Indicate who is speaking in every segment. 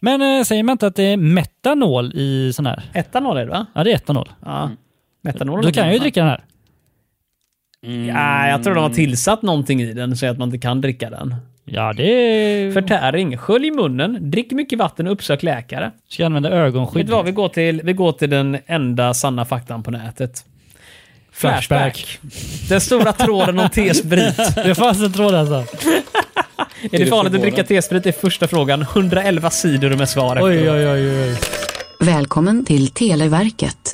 Speaker 1: Men eh, säger man inte att det är metanol i sån här?
Speaker 2: Etanol är det va?
Speaker 1: Ja, det är etanol.
Speaker 2: Ja. Metanol
Speaker 1: Då kan jag ju dricka den här.
Speaker 2: Mm. Ja, jag tror de har tillsatt någonting i den så att man inte kan dricka den.
Speaker 1: Ja, det är...
Speaker 2: Förtäring. Skölj i munnen, drick mycket vatten och uppsök läkare.
Speaker 1: Ska jag använda ögonskydd?
Speaker 2: Vet du vad, vi går, till, vi går till den enda sanna faktan på nätet.
Speaker 1: Flashback.
Speaker 2: Den stora tråden om T-sprit.
Speaker 1: Det fanns en tråd alltså.
Speaker 2: Är det farligt att dricka T-sprit? Det är första frågan. 111 sidor med svar.
Speaker 1: Oj, oj, oj, oj.
Speaker 3: Välkommen till Televerket.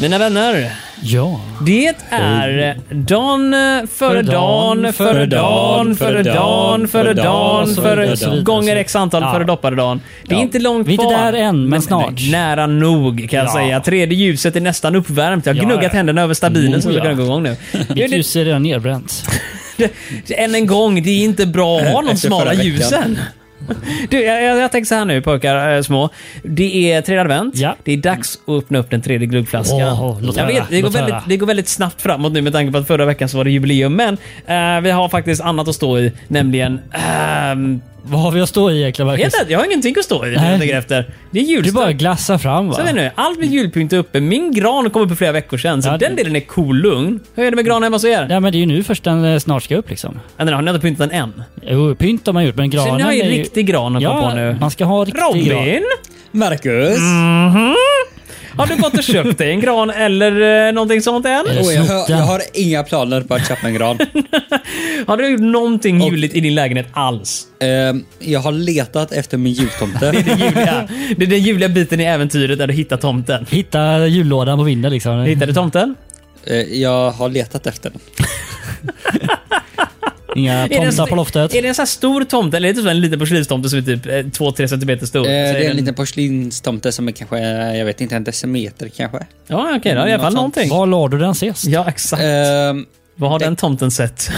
Speaker 2: Mina vänner,
Speaker 1: Ja.
Speaker 2: det är Dan eh, före Dan, före Dan, före Dan, före Dan,
Speaker 1: Och så vidare.
Speaker 2: före gånger x antal
Speaker 1: Ja.
Speaker 2: före doppade Dan. Det är
Speaker 1: Ja.
Speaker 2: inte långt
Speaker 1: Vi är
Speaker 2: kvar.
Speaker 1: inte där än, men snart.
Speaker 2: Nära nog kan jag
Speaker 1: Ja.
Speaker 2: säga. Tredje ljuset är nästan uppvärmt. Jag har
Speaker 1: Ja,
Speaker 2: gnuggat
Speaker 1: ja.
Speaker 2: händerna över stabilen som
Speaker 1: Moja.
Speaker 2: ska gå igång nu.
Speaker 1: Mitt ljus är redan nedbränt.
Speaker 2: Det- Än en gång, det är inte bra att ha de
Speaker 4: Efter
Speaker 2: smala
Speaker 4: förra veckan.
Speaker 2: ljusen. Du, jag, jag, jag tänker så här nu pojkar eh, små. Det är tredje advent.
Speaker 1: Ja.
Speaker 2: Det är dags att öppna upp den tredje glöggflaskan.
Speaker 1: Åh, låt
Speaker 2: jag
Speaker 1: höra,
Speaker 2: vet, det går,
Speaker 1: låt
Speaker 2: väldigt,
Speaker 1: höra.
Speaker 2: det går väldigt snabbt framåt nu med tanke på att förra veckan så var det jubileum. Men eh, vi har faktiskt annat att stå i, nämligen... ehm,
Speaker 1: Vad har vi att stå i egentligen,
Speaker 2: jag, vet
Speaker 1: Marcus?
Speaker 2: inte, jag har ingenting att stå i.
Speaker 1: Nej.
Speaker 2: Jag tänker efter. Det är
Speaker 1: Du
Speaker 2: julstund.
Speaker 1: bara glassar fram va?
Speaker 2: Så vet ni, allt med julpynt är uppe. Min gran kom upp för flera veckor sedan, så
Speaker 1: Ja,
Speaker 2: den
Speaker 1: det-
Speaker 2: delen är cool lugn. Hur är det med granen hemma hos er?
Speaker 1: Ja, men det är ju nu först den eh, snart ska upp liksom.
Speaker 2: Ja. Har ni inte pyntat den än?
Speaker 1: Jo, pynt har man gjort, men granen
Speaker 2: Så nu har jag
Speaker 1: är
Speaker 2: en
Speaker 1: ju...
Speaker 2: riktig gran att gå
Speaker 1: Ja,
Speaker 2: på nu.
Speaker 1: man ska ha riktig gran.
Speaker 2: Robin!
Speaker 4: Marcus!
Speaker 2: Har du gått och köpt dig en gran eller eh, någonting sånt än?
Speaker 1: Eller
Speaker 4: Oj, jag, har,
Speaker 1: snocka.
Speaker 4: jag har inga planer på att köpa en gran.
Speaker 2: Har du gjort någonting juligt i din lägenhet alls?
Speaker 4: Ehm, jag har letat efter min jultomte.
Speaker 2: Det juliga, det är den juliga biten i äventyret där du hittar tomten.
Speaker 1: Hitta jullådan på vinden liksom.
Speaker 2: Hittade du tomten?
Speaker 4: Ehm, jag har letat efter den.
Speaker 1: Inga
Speaker 2: Är det en-
Speaker 1: tomtar på loftet.
Speaker 2: Är det en sån här stor tomte eller är det så en liten porslinstomte som är typ 2-3 centimeter stor?
Speaker 4: Ehm,
Speaker 2: Så är
Speaker 4: det är en
Speaker 2: den-
Speaker 4: liten porslinstomte som är kanske, jag vet inte, en decimeter kanske.
Speaker 2: Ja, okej då. I alla fall
Speaker 4: Något sånt.
Speaker 2: någonting.
Speaker 1: Var la du den sist?
Speaker 2: Ja, exakt.
Speaker 4: Ehm,
Speaker 2: Vad har den tomten sett?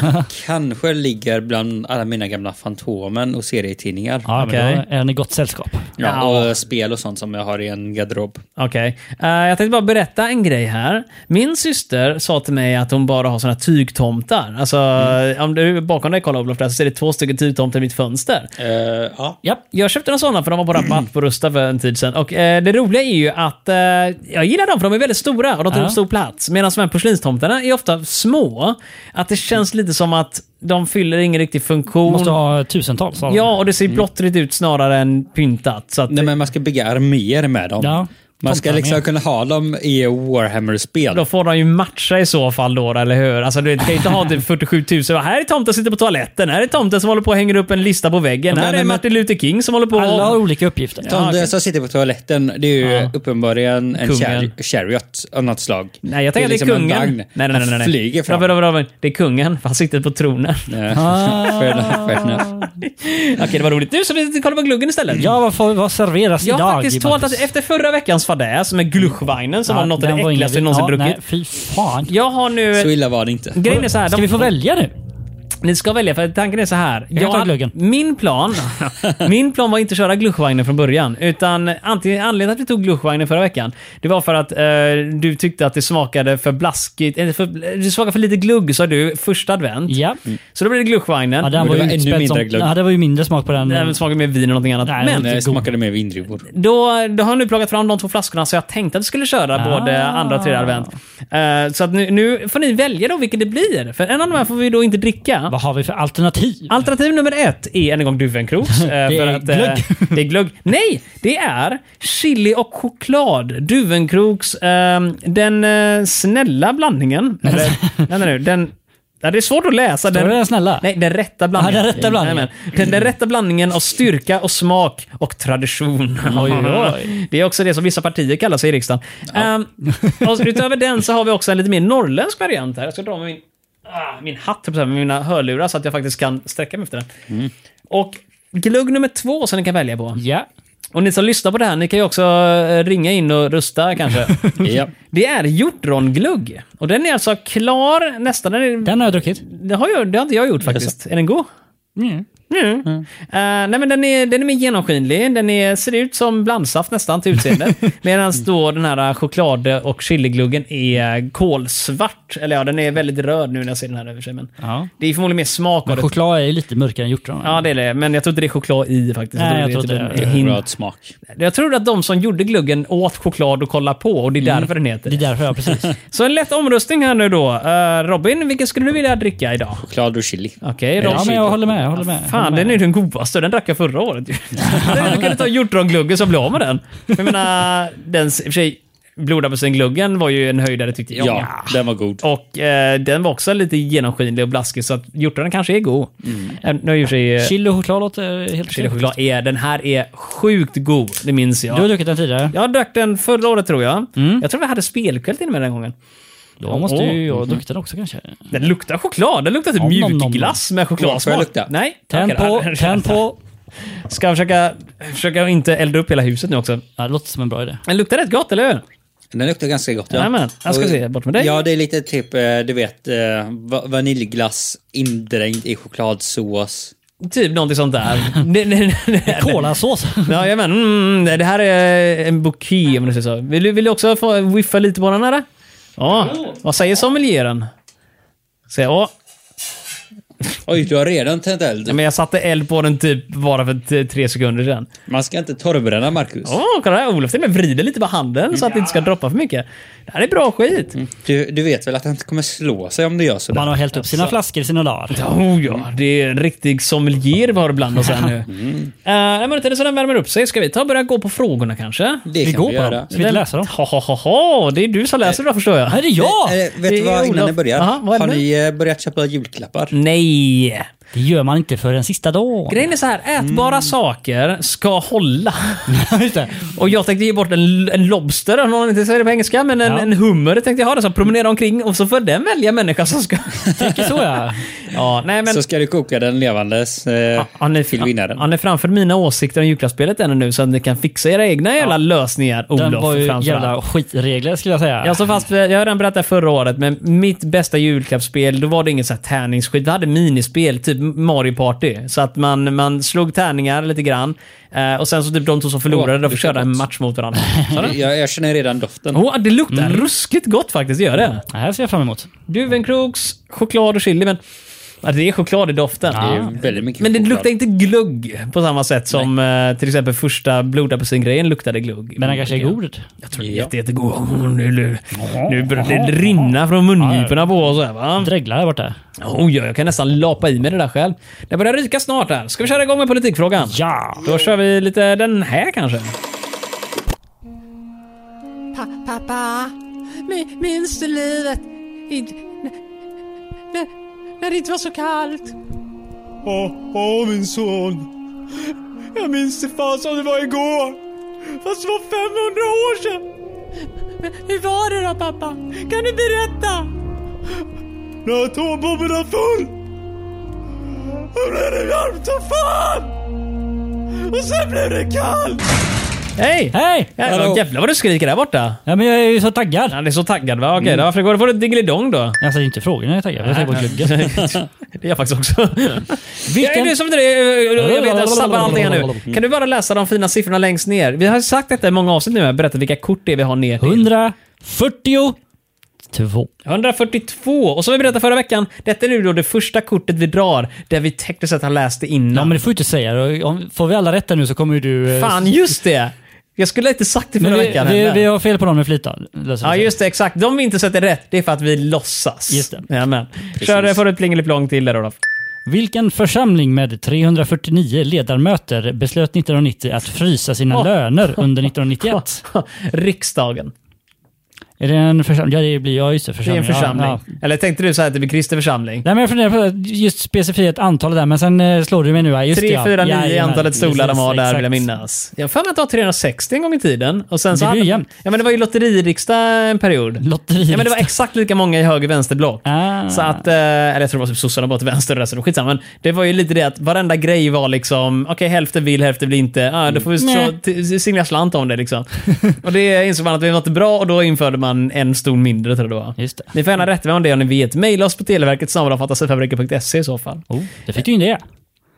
Speaker 4: kanske ligger bland alla mina gamla Fantomen och serietidningar.
Speaker 1: Ja,
Speaker 2: Okej.
Speaker 1: men då är den i gott sällskap.
Speaker 4: Ja, och spel och sånt som jag har i en garderob.
Speaker 2: Okej. Eh, jag tänkte bara berätta en grej här. Min syster sa till mig att hon bara har såna här tygtomtar. Alltså,
Speaker 1: Mm.
Speaker 2: om du bakom dig kollar Olof, där, så ser det två stycken tygtomtar i mitt fönster.
Speaker 4: Ehm, ja.
Speaker 2: Ja, jag köpte några sådana för de var på rabatt på Rusta för en tid sedan. Och eh, det roliga är ju att eh, jag gillar dem för de är väldigt stora och de tar
Speaker 1: Ja.
Speaker 2: upp stor plats. Medan de här porslinstomtarna är ofta små. Att det känns lite som att de fyller ingen riktig funktion.
Speaker 1: Måste ha Mm. tusentals av
Speaker 2: Ja, och det ser plottrigt ut snarare än pyntat. Så att,
Speaker 4: Nej, men man ska bygga arméer med dem.
Speaker 1: Ja.
Speaker 4: Man ska
Speaker 1: Tomtarmé.
Speaker 4: liksom kunna ha dem i Warhammer-spel.
Speaker 2: Då får de ju matcha i så fall då, eller hur? Alltså du vet, kan ju inte ha typ 47 000. Va, Här är tomten som sitter på toaletten. Här är tomten som håller på och hänger upp en lista på väggen.
Speaker 4: Men-
Speaker 2: Här är
Speaker 4: men-
Speaker 2: Martin Luther King som håller på
Speaker 1: Alla har
Speaker 2: och...
Speaker 1: olika uppgifter.
Speaker 4: Tom
Speaker 2: Ja, okej.
Speaker 4: som sitter på toaletten, det är ju uppenbarligen en
Speaker 2: Kungen.
Speaker 4: chari- chariot av något slag.
Speaker 2: Nej, jag tänker att det är
Speaker 4: liksom en
Speaker 2: kungen.
Speaker 4: vagn.
Speaker 2: Nej, nej, nej. nej,
Speaker 4: Han
Speaker 2: nej.
Speaker 4: flyger fram.
Speaker 2: Robin, Robin, Robin. Det är kungen. Han sitter på tronen.
Speaker 4: Nej, fair enough, fair
Speaker 2: Ah.
Speaker 4: enough.
Speaker 2: Okej, det var roligt. Nu så vi kollar på gluggen istället.
Speaker 1: Ja, vad, får, vad serveras
Speaker 2: Jag
Speaker 1: idag?
Speaker 2: har faktiskt tålt
Speaker 1: Marcus?
Speaker 2: att efter förra veckans fadäs med gluschvagnen som
Speaker 1: Ja,
Speaker 2: var något av
Speaker 1: den
Speaker 2: det
Speaker 1: var ingen-
Speaker 2: äckligaste jag någonsin
Speaker 1: ja,
Speaker 2: druckit.
Speaker 1: Nej, fy fan.
Speaker 2: Jag har nu...
Speaker 4: Så illa var det inte.
Speaker 2: Grejen är så här,
Speaker 1: Ska
Speaker 2: de-
Speaker 1: vi få välja nu?
Speaker 2: Ni ska välja, för tanken är så här.
Speaker 1: Jag tar gluggen.
Speaker 2: min, plan, min plan var inte att köra gluschvagnen från början. Utan antingen, anledningen till att vi tog gluschvagnen förra veckan, det var för att eh, du tyckte att det smakade för blaskigt. Eller för, eh, det smakade för lite glugg, sa du, första advent.
Speaker 1: Ja.
Speaker 2: Så då blev det gluschvagnen.
Speaker 1: ja den
Speaker 4: det
Speaker 1: var ju
Speaker 4: var ännu
Speaker 1: utspädd
Speaker 4: mindre
Speaker 1: som,
Speaker 4: glögg.
Speaker 1: ja, det var ju mindre smak på den.
Speaker 2: Den smakade mer vin eller någonting annat.
Speaker 1: Nej,
Speaker 2: Men
Speaker 1: inte
Speaker 4: Det smakade mer vindruvor.
Speaker 2: då, då har jag nu plockat fram de två flaskorna så jag tänkte att vi skulle köra både
Speaker 1: Ah.
Speaker 2: andra och tredje advent. Eh, så att nu, nu får ni välja då vilket det blir. För en av de här får vi då inte dricka.
Speaker 1: Vad har vi för alternativ?
Speaker 2: Alternativ nummer ett är än en gång eh, Duvenkroks. det
Speaker 1: är glögg.
Speaker 2: det är glögg. Nej, det är chili och choklad. Duvenkroks, eh, den eh, snälla blandningen. Eller, nej, nej, nej, den, ja, det är svårt att läsa.
Speaker 1: Står det
Speaker 2: Den,
Speaker 1: den snälla?
Speaker 2: nej, den rätta blandningen.
Speaker 1: Ja, den rätta blandningen.
Speaker 2: Jajamän. Den, den rätta blandningen av styrka och smak och tradition.
Speaker 1: Oj, oj.
Speaker 2: Det är också det som vissa partier kallar sig i riksdagen. Ehm, och utöver den så har vi också en lite mer norrländsk variant här. Jag ska dra med min, ah, min hatt, höll jag på att säga, med mina hörlurar
Speaker 1: Mm.
Speaker 2: så att jag faktiskt kan sträcka mig efter den. Och glugg nummer två som ni kan välja på.
Speaker 1: Ja.
Speaker 2: Och ni som lyssnar på det här, ni kan ju också eh, ringa in och rösta kanske.
Speaker 4: Ja.
Speaker 2: Det är hjortronglugg. Och den är alltså klar nästan. Den är,
Speaker 1: Den har jag druckit.
Speaker 2: det, har jag, det har inte jag gjort faktiskt. Är den god?
Speaker 1: Mm.
Speaker 2: Mm. Eh, nej men den är, den är mer genomskinlig, den är, ser ut som blandsaft nästan till utseende. Medan då den här choklad och chiligluggen är kolsvart. Eller ja, den är väldigt röd nu när jag ser den här över sig. Men
Speaker 1: Ja.
Speaker 2: det är förmodligen mer smak av det.
Speaker 1: Choklad är ju lite mörkare än hjortron.
Speaker 2: Ja, det är det. Men jag tror inte det är choklad i faktiskt.
Speaker 1: Nej, jag
Speaker 2: det
Speaker 1: tror
Speaker 2: är
Speaker 1: inte
Speaker 2: typ en
Speaker 1: det.
Speaker 2: hint.
Speaker 4: Röd smak.
Speaker 2: Jag tror att de som gjorde gluggen åt choklad och kollade på och det är
Speaker 1: Mm.
Speaker 2: därför den heter
Speaker 1: Det är
Speaker 2: det.
Speaker 1: därför jag precis.
Speaker 2: Så en lätt omröstning här nu då. Eh, Robin, vilken skulle du vilja dricka idag?
Speaker 4: Choklad och chili.
Speaker 2: Okej, Robin.
Speaker 1: Ja, men jag håller med. Jag håller med.
Speaker 2: Fan, den är ju den godaste. Den drack jag förra året. ju. Då kan du ta hjortrongluggen så blir jag av med den. Jag menar, den i och för sig, blodapelsingluggen var ju en höjdare tyckte jag.
Speaker 4: Ja, den var god.
Speaker 2: Och eh, den var också lite genomskinlig och blaskig så att hjortronen kanske är god. Mm. Nu i och för sig... eh,
Speaker 1: Chili och choklad låter helt
Speaker 2: Chili
Speaker 1: sjukt.
Speaker 2: choklad är, den här är sjukt god, det minns
Speaker 1: Du Mm. har
Speaker 2: jag.
Speaker 1: druckit den tidigare.
Speaker 2: Jag drack den förra året tror jag. Jag tror vi hade spelkväll till och med den gången.
Speaker 1: Då måste ju jag
Speaker 2: Åh. Mm-hmm.
Speaker 1: ha druckit den också kanske.
Speaker 2: Den luktar choklad, den luktar typ
Speaker 1: Nom, nom, nom, nom.
Speaker 2: mjukglass med
Speaker 4: Får jag
Speaker 2: chokladsmak.
Speaker 4: lukta?
Speaker 2: Nej,
Speaker 1: Tänd
Speaker 2: tackar.
Speaker 1: på, tänd på.
Speaker 2: Ska jag försöka, försöka inte elda upp hela huset nu också.
Speaker 1: Ja, det låter som en bra idé.
Speaker 2: Den luktar rätt gott, eller hur?
Speaker 4: Den luktar ganska gott.
Speaker 2: Jajamän. Jag ska se, bort med dig.
Speaker 4: Ja, det är lite typ, eh, du vet, eh, va- vaniljglass indränkt i chokladsås.
Speaker 2: Typ någonting sånt där. Det- det- det-
Speaker 1: Kolasås.
Speaker 2: Ja, jajamän. Mm, det här är en bouquet om du säger så. Vill du, vill du också få whiffa lite på den här? Ja. Vad säger sommelieren? Säger, åh,
Speaker 4: Oj, du har redan tänt eld.
Speaker 2: Ja, men jag satte eld på den typ bara för t- tre sekunder sedan.
Speaker 4: Man ska inte torrbränna, Marcus.
Speaker 2: Åh, kolla här. Olof till och med vrider lite på handen så att det inte ska droppa för mycket. Det här är bra skit.
Speaker 4: Du, du vet väl att han inte kommer slå sig om du gör sådär?
Speaker 1: Man har hällt upp sina flaskor i sina dagar.
Speaker 2: Oh ja, det är en riktig sommelier vi har bland oss här nu. Mm. men det är så den värmer upp sig. Ska vi ta och börja gå på frågorna kanske?
Speaker 1: Vi
Speaker 4: Det kan
Speaker 1: går
Speaker 4: vi
Speaker 1: på dem.
Speaker 4: göra.
Speaker 1: Ska vi inte läsa dem?
Speaker 2: Ha, ha, ha, ha. Det är du som läser idag förstår jag.
Speaker 1: Här är jag!
Speaker 4: Eh, vet
Speaker 2: det
Speaker 4: du
Speaker 2: är
Speaker 4: vad, innan
Speaker 2: Olof.
Speaker 4: ni börjar?
Speaker 2: Aha, vad är
Speaker 4: har
Speaker 2: det nu?
Speaker 4: ni eh, börjat köpa julklappar?
Speaker 2: Nej!
Speaker 1: Det gör man inte för den sista dagen.
Speaker 2: Grejen är så här, ätbara saker ska hålla.
Speaker 1: Mm. Just det.
Speaker 2: Och jag tänkte ge bort en, en lobster, om någon inte säger det på engelska, men en,
Speaker 1: Ja.
Speaker 2: en hummer tänkte jag ha den som promenerar omkring och så får den välja människa som ska...
Speaker 1: Tänker så ja.
Speaker 2: ja, nej men...
Speaker 4: Så ska du koka den levandes eh,
Speaker 2: Han
Speaker 4: till
Speaker 2: är,
Speaker 4: vinnaren.
Speaker 2: han är framför mina åsikter om julklappsspelet ännu nu så att ni kan fixa era egna jävla lösningar, Olof.
Speaker 1: Den var ju
Speaker 2: framförallt.
Speaker 1: jävla skitregler skulle jag säga.
Speaker 2: Jag står fast vid, jag har redan berättat förra året, men mitt bästa julklappsspel, då var det inget så här tärningsskit. Vi hade minispel, typ Mario Party. Så att man, man slog tärningar lite grann. Eh, och sen så typ de två som förlorade,
Speaker 4: Åh,
Speaker 2: de fick
Speaker 4: det luktar
Speaker 2: köra en
Speaker 4: gott.
Speaker 2: match mot varandra.
Speaker 4: Jag, jag känner redan doften.
Speaker 2: Åh, det luktar
Speaker 4: Mm.
Speaker 2: ruskigt gott faktiskt, det gör det.
Speaker 1: Det här ser jag fram emot.
Speaker 2: Duvenkroks, choklad och chili, men... Ja, det är choklad i doften.
Speaker 4: Det är ju väldigt mycket
Speaker 2: Men det
Speaker 4: choklad.
Speaker 2: luktar inte glugg på samma sätt som eh, till exempel första blodapelsingrejen luktade glugg.
Speaker 1: Men den kanske är
Speaker 2: Jag-
Speaker 1: god.
Speaker 2: Jag tror det är
Speaker 4: Ja.
Speaker 2: jätte, jättegod. Oh, nu, nu, nu börjar det rinna från mungiporna på oss här va?
Speaker 1: Dreglar där borta.
Speaker 2: Oj, jag kan nästan lapa i mig det där själv. Det börjar ryka snart här. Ska vi köra igång med politikfrågan?
Speaker 1: Ja!
Speaker 2: Då kör vi lite den här kanske.
Speaker 5: Pa- pappa, mi- minns du livet? Inte, när, när det inte var så kallt?
Speaker 6: Åh, åh min son. Jag minns det fan som det var igår. Fast det var 500 år sedan.
Speaker 5: Men hur var det då pappa? Kan du berätta?
Speaker 6: När atombomben var full. Då blev det varmt som fan. Och sen blev det kallt.
Speaker 2: Hej!
Speaker 1: Hej!
Speaker 2: Jävlar, jävlar vad du skriker där borta.
Speaker 1: Ja, men jag är ju så taggad.
Speaker 2: Han är så taggad va? Okej, då, varför går det på ett dingelidong då?
Speaker 1: Jag säger inte frågorna jag är taggad. Jag säger bara gluggen.
Speaker 2: Det är jag faktiskt också.
Speaker 1: Vilken-
Speaker 2: Jag, är du som, jag vet, jag sabbar allting här nu. Kan du bara läsa de fina siffrorna längst ner? Vi har sagt detta i många avsnitt nu, berättat vilka kort det är vi har ner till.
Speaker 1: 142.
Speaker 2: 142. Och som vi berättade förra veckan, detta är nu då det första kortet vi drar där vi tekniskt sett har läst det
Speaker 1: Ja,
Speaker 2: innan.
Speaker 1: men det får du inte säga. Då- om- Får vi alla rätta nu så kommer ju du... eh,
Speaker 2: Fan, just det! Jag skulle inte sagt det förra
Speaker 1: Men vi,
Speaker 2: veckan.
Speaker 1: vi,
Speaker 2: heller.
Speaker 1: vi har fel på dem med flit då. Löser
Speaker 2: Ja,
Speaker 1: vi sen.
Speaker 2: just det. Exakt. De vi inte sätter rätt, det är för att vi låtsas.
Speaker 1: Just det.
Speaker 2: Jajamän. Kör det för ett plingeliplong till där då.
Speaker 1: Vilken församling med 349 ledamöter beslöt 1990 att frysa sina löner under 1991?
Speaker 2: Riksdagen.
Speaker 1: Är det en församling? Ja, det blir, ja just det,
Speaker 2: Det är en
Speaker 1: församling.
Speaker 2: församling.
Speaker 1: Ja, ja.
Speaker 2: Eller tänkte du så här att det blir kristen församling?
Speaker 1: Nej men jag funderar på just specifikt antalet där, men sen eh, slår du mig nu. Ja, just det,
Speaker 2: Tre,
Speaker 1: ja.
Speaker 2: fyra, nio är
Speaker 1: Jajamän.
Speaker 2: antalet stolar de
Speaker 1: Precis,
Speaker 2: har där vill
Speaker 1: exakt.
Speaker 2: jag minnas. Jag har för mig att det var 360 en gång i tiden. Och sen så
Speaker 1: Det blir
Speaker 2: hade-
Speaker 1: ju jämnt.
Speaker 2: Ja men det var ju lotteririksdag en period.
Speaker 1: Lotteri.
Speaker 2: Ja, men det var exakt lika många i höger vänster block.
Speaker 1: Ah.
Speaker 2: Så att, eh, eller jag tror det var typ sossarna bara till vänster och resten, skitsamma. Men det var ju lite det att varenda grej var liksom, okej hälften vill, hälften vill inte. Ah, då får vi
Speaker 1: Nej.
Speaker 2: så, t- singla slant om det liksom. och det insåg man att det var inte bra och då införde man en stol mindre tror jag det var.
Speaker 1: Just det.
Speaker 2: Ni får gärna rätta mig om det om ni vet. Maila oss på televerket snabelafantasifabrik.se i så fall.
Speaker 1: Oh, det fick du in det.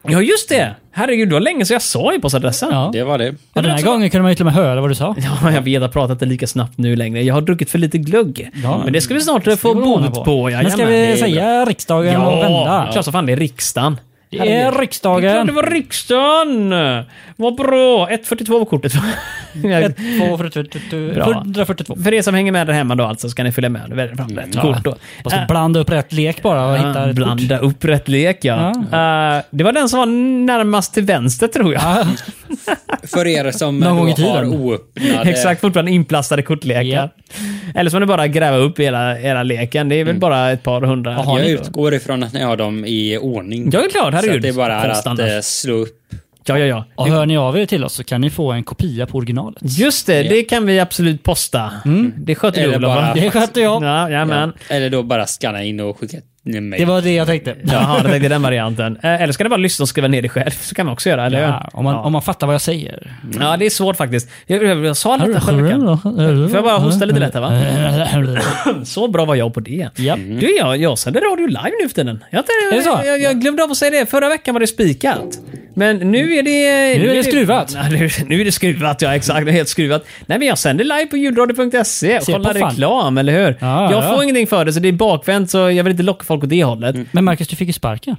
Speaker 2: Ja just det! Herregud, det var länge sedan jag sa e-postadressen.
Speaker 1: Ja.
Speaker 4: Det var det.
Speaker 1: Och den här gången kunde man ju till och med höra vad du sa.
Speaker 2: Ja, jag vet, jag har pratat inte lika snabbt nu längre. Jag har druckit för lite glögg.
Speaker 1: Ja.
Speaker 2: Men det ska vi snart eh, få
Speaker 1: Det går ordna
Speaker 2: bot på.
Speaker 1: Men ska
Speaker 2: Jajamän.
Speaker 1: vi säga riksdagen och vända?
Speaker 2: klart som fan det är riksdagen.
Speaker 1: Det är
Speaker 2: Det är klart
Speaker 1: riksdagen.
Speaker 2: det var riksdagen! Vad bra! 1.42 var kortet.
Speaker 1: Ett, två, fyra, två, två, två,
Speaker 2: Bra.
Speaker 1: 142.
Speaker 2: För er som hänger med där hemma då alltså, så kan ni följa med. Välj fram rätt kort då.
Speaker 1: Måste blanda upp rätt lek bara och hitta
Speaker 2: Ah,
Speaker 1: rätt kort.
Speaker 2: blanda upp rätt lek ja. Eh, det var den som var närmast till vänster tror jag.
Speaker 4: För er som
Speaker 1: Någon gång i
Speaker 4: då har
Speaker 1: tiden.
Speaker 4: oöppnade...
Speaker 2: Exakt, fortfarande inplastade kortlekar.
Speaker 1: Ja.
Speaker 2: Eller så är det bara att gräva upp hela, hela leken. Det är väl bara ett par hundra.
Speaker 1: Jaha.
Speaker 4: Jag
Speaker 1: Mm. Har ni då?
Speaker 4: utgår ifrån att ni har dem i ordning.
Speaker 2: Ja, det är klart,
Speaker 4: Så
Speaker 2: herregud.
Speaker 4: att det är bara är
Speaker 2: Konst
Speaker 4: att
Speaker 2: annars.
Speaker 4: eh, slå upp.
Speaker 2: Ja, ja, ja.
Speaker 1: Och hör ni av er till oss så kan ni få en kopia på originalet.
Speaker 2: Just det, det kan vi absolut posta. Det sköter du
Speaker 4: Eller
Speaker 2: Olof, va?
Speaker 4: bara-
Speaker 1: Mm. Det skötte jag.
Speaker 2: Ja, jajamän.
Speaker 4: Eller då bara scanna in och skicka en mail.
Speaker 1: Det var det jag tänkte.
Speaker 2: Jaha, jag tänkte den varianten. Eh, Eller ska det bara lyssna och skriva ner det själv? Så kan man också göra, eller
Speaker 1: Ja, om, man,
Speaker 2: ja.
Speaker 1: om man fattar vad jag säger.
Speaker 2: ja, det är svårt faktiskt. Jag, jag, jag sa lite själv.
Speaker 1: Får
Speaker 2: Får jag bara hosta lite lätt här,
Speaker 1: Eh,
Speaker 2: Så bra var jag på det. Mm.
Speaker 1: Ja.
Speaker 2: Du, jag, jag sänder radio live nu för tiden. Jag, jag,
Speaker 1: Är det så?
Speaker 2: Jag, jag, glömde av att säga det. Förra veckan var det spikat. Men nu är det...
Speaker 1: Nu är det skruvat.
Speaker 2: Nej, Nu, nu är det skruvat, ja exakt. Det är helt skruvat. Nej, men jag sänder live på ljudradio.se.
Speaker 1: Se
Speaker 2: Kolla
Speaker 1: på fan.
Speaker 2: reklam, eller hur?
Speaker 1: Ja,
Speaker 2: jag
Speaker 1: ja. Mm.
Speaker 2: får ingenting för det, så det är bakvänt, så jag vill inte locka folk åt det hållet.
Speaker 1: Men Marcus, du fick ju sparken.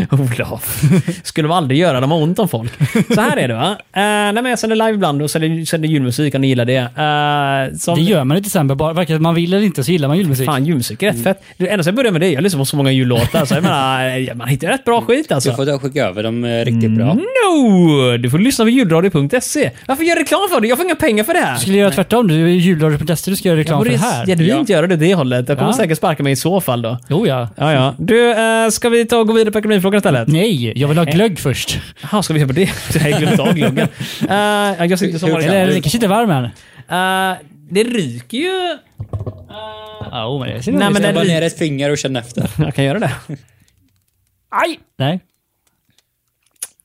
Speaker 2: Olof. Skulle man aldrig göra, de har ont om folk. Så här är det va. Uh, nej, men jag sänder live ibland och sänder, sänder julmusik om ni gillar det. Eh, som,
Speaker 1: Det gör man i december, bara, varken man vill eller inte så gillar man julmusik.
Speaker 2: Fan, julmusik
Speaker 1: Mm.
Speaker 2: är rätt fett. Det enda som jag började med det, jag lyssnar på så många jullåtar. Så jag menar, eh, man hittar rätt
Speaker 1: Mm.
Speaker 2: bra skit alltså.
Speaker 4: Du får då skicka över dem eh, riktigt
Speaker 2: Mm.
Speaker 4: bra.
Speaker 2: No! Du får lyssna på ljudradio.se. Varför gör jag reklam för det? Jag får inga pengar för det här.
Speaker 1: Du skulle göra tvärtom. Du är julradio.se, du ska göra reklam
Speaker 2: Jag
Speaker 1: för det
Speaker 2: borde
Speaker 1: här.
Speaker 2: genuint göra det det hållet. Jag kommer
Speaker 1: Ja. Mm.
Speaker 2: säkert sparka mig i så fall då.
Speaker 1: Jo ja.
Speaker 2: Ja, ja. Du, eh, ska vi ta och gå vidare på ekonomifrågan istället?
Speaker 1: Nej, jag vill ha glögg först.
Speaker 2: Jaha, ska vi göra på det? Det här glömde jag glöggen. Eh, jag sitter som vanligt.
Speaker 1: Eller den kanske inte är varm än.
Speaker 2: Eh, det ryker ju.
Speaker 1: Oh, men det
Speaker 2: Nej,
Speaker 4: Men
Speaker 2: men
Speaker 4: Stoppa
Speaker 2: den
Speaker 4: ner
Speaker 2: ryker.
Speaker 4: ett finger och känn efter.
Speaker 2: Jag kan göra det.
Speaker 1: Aj! Nej,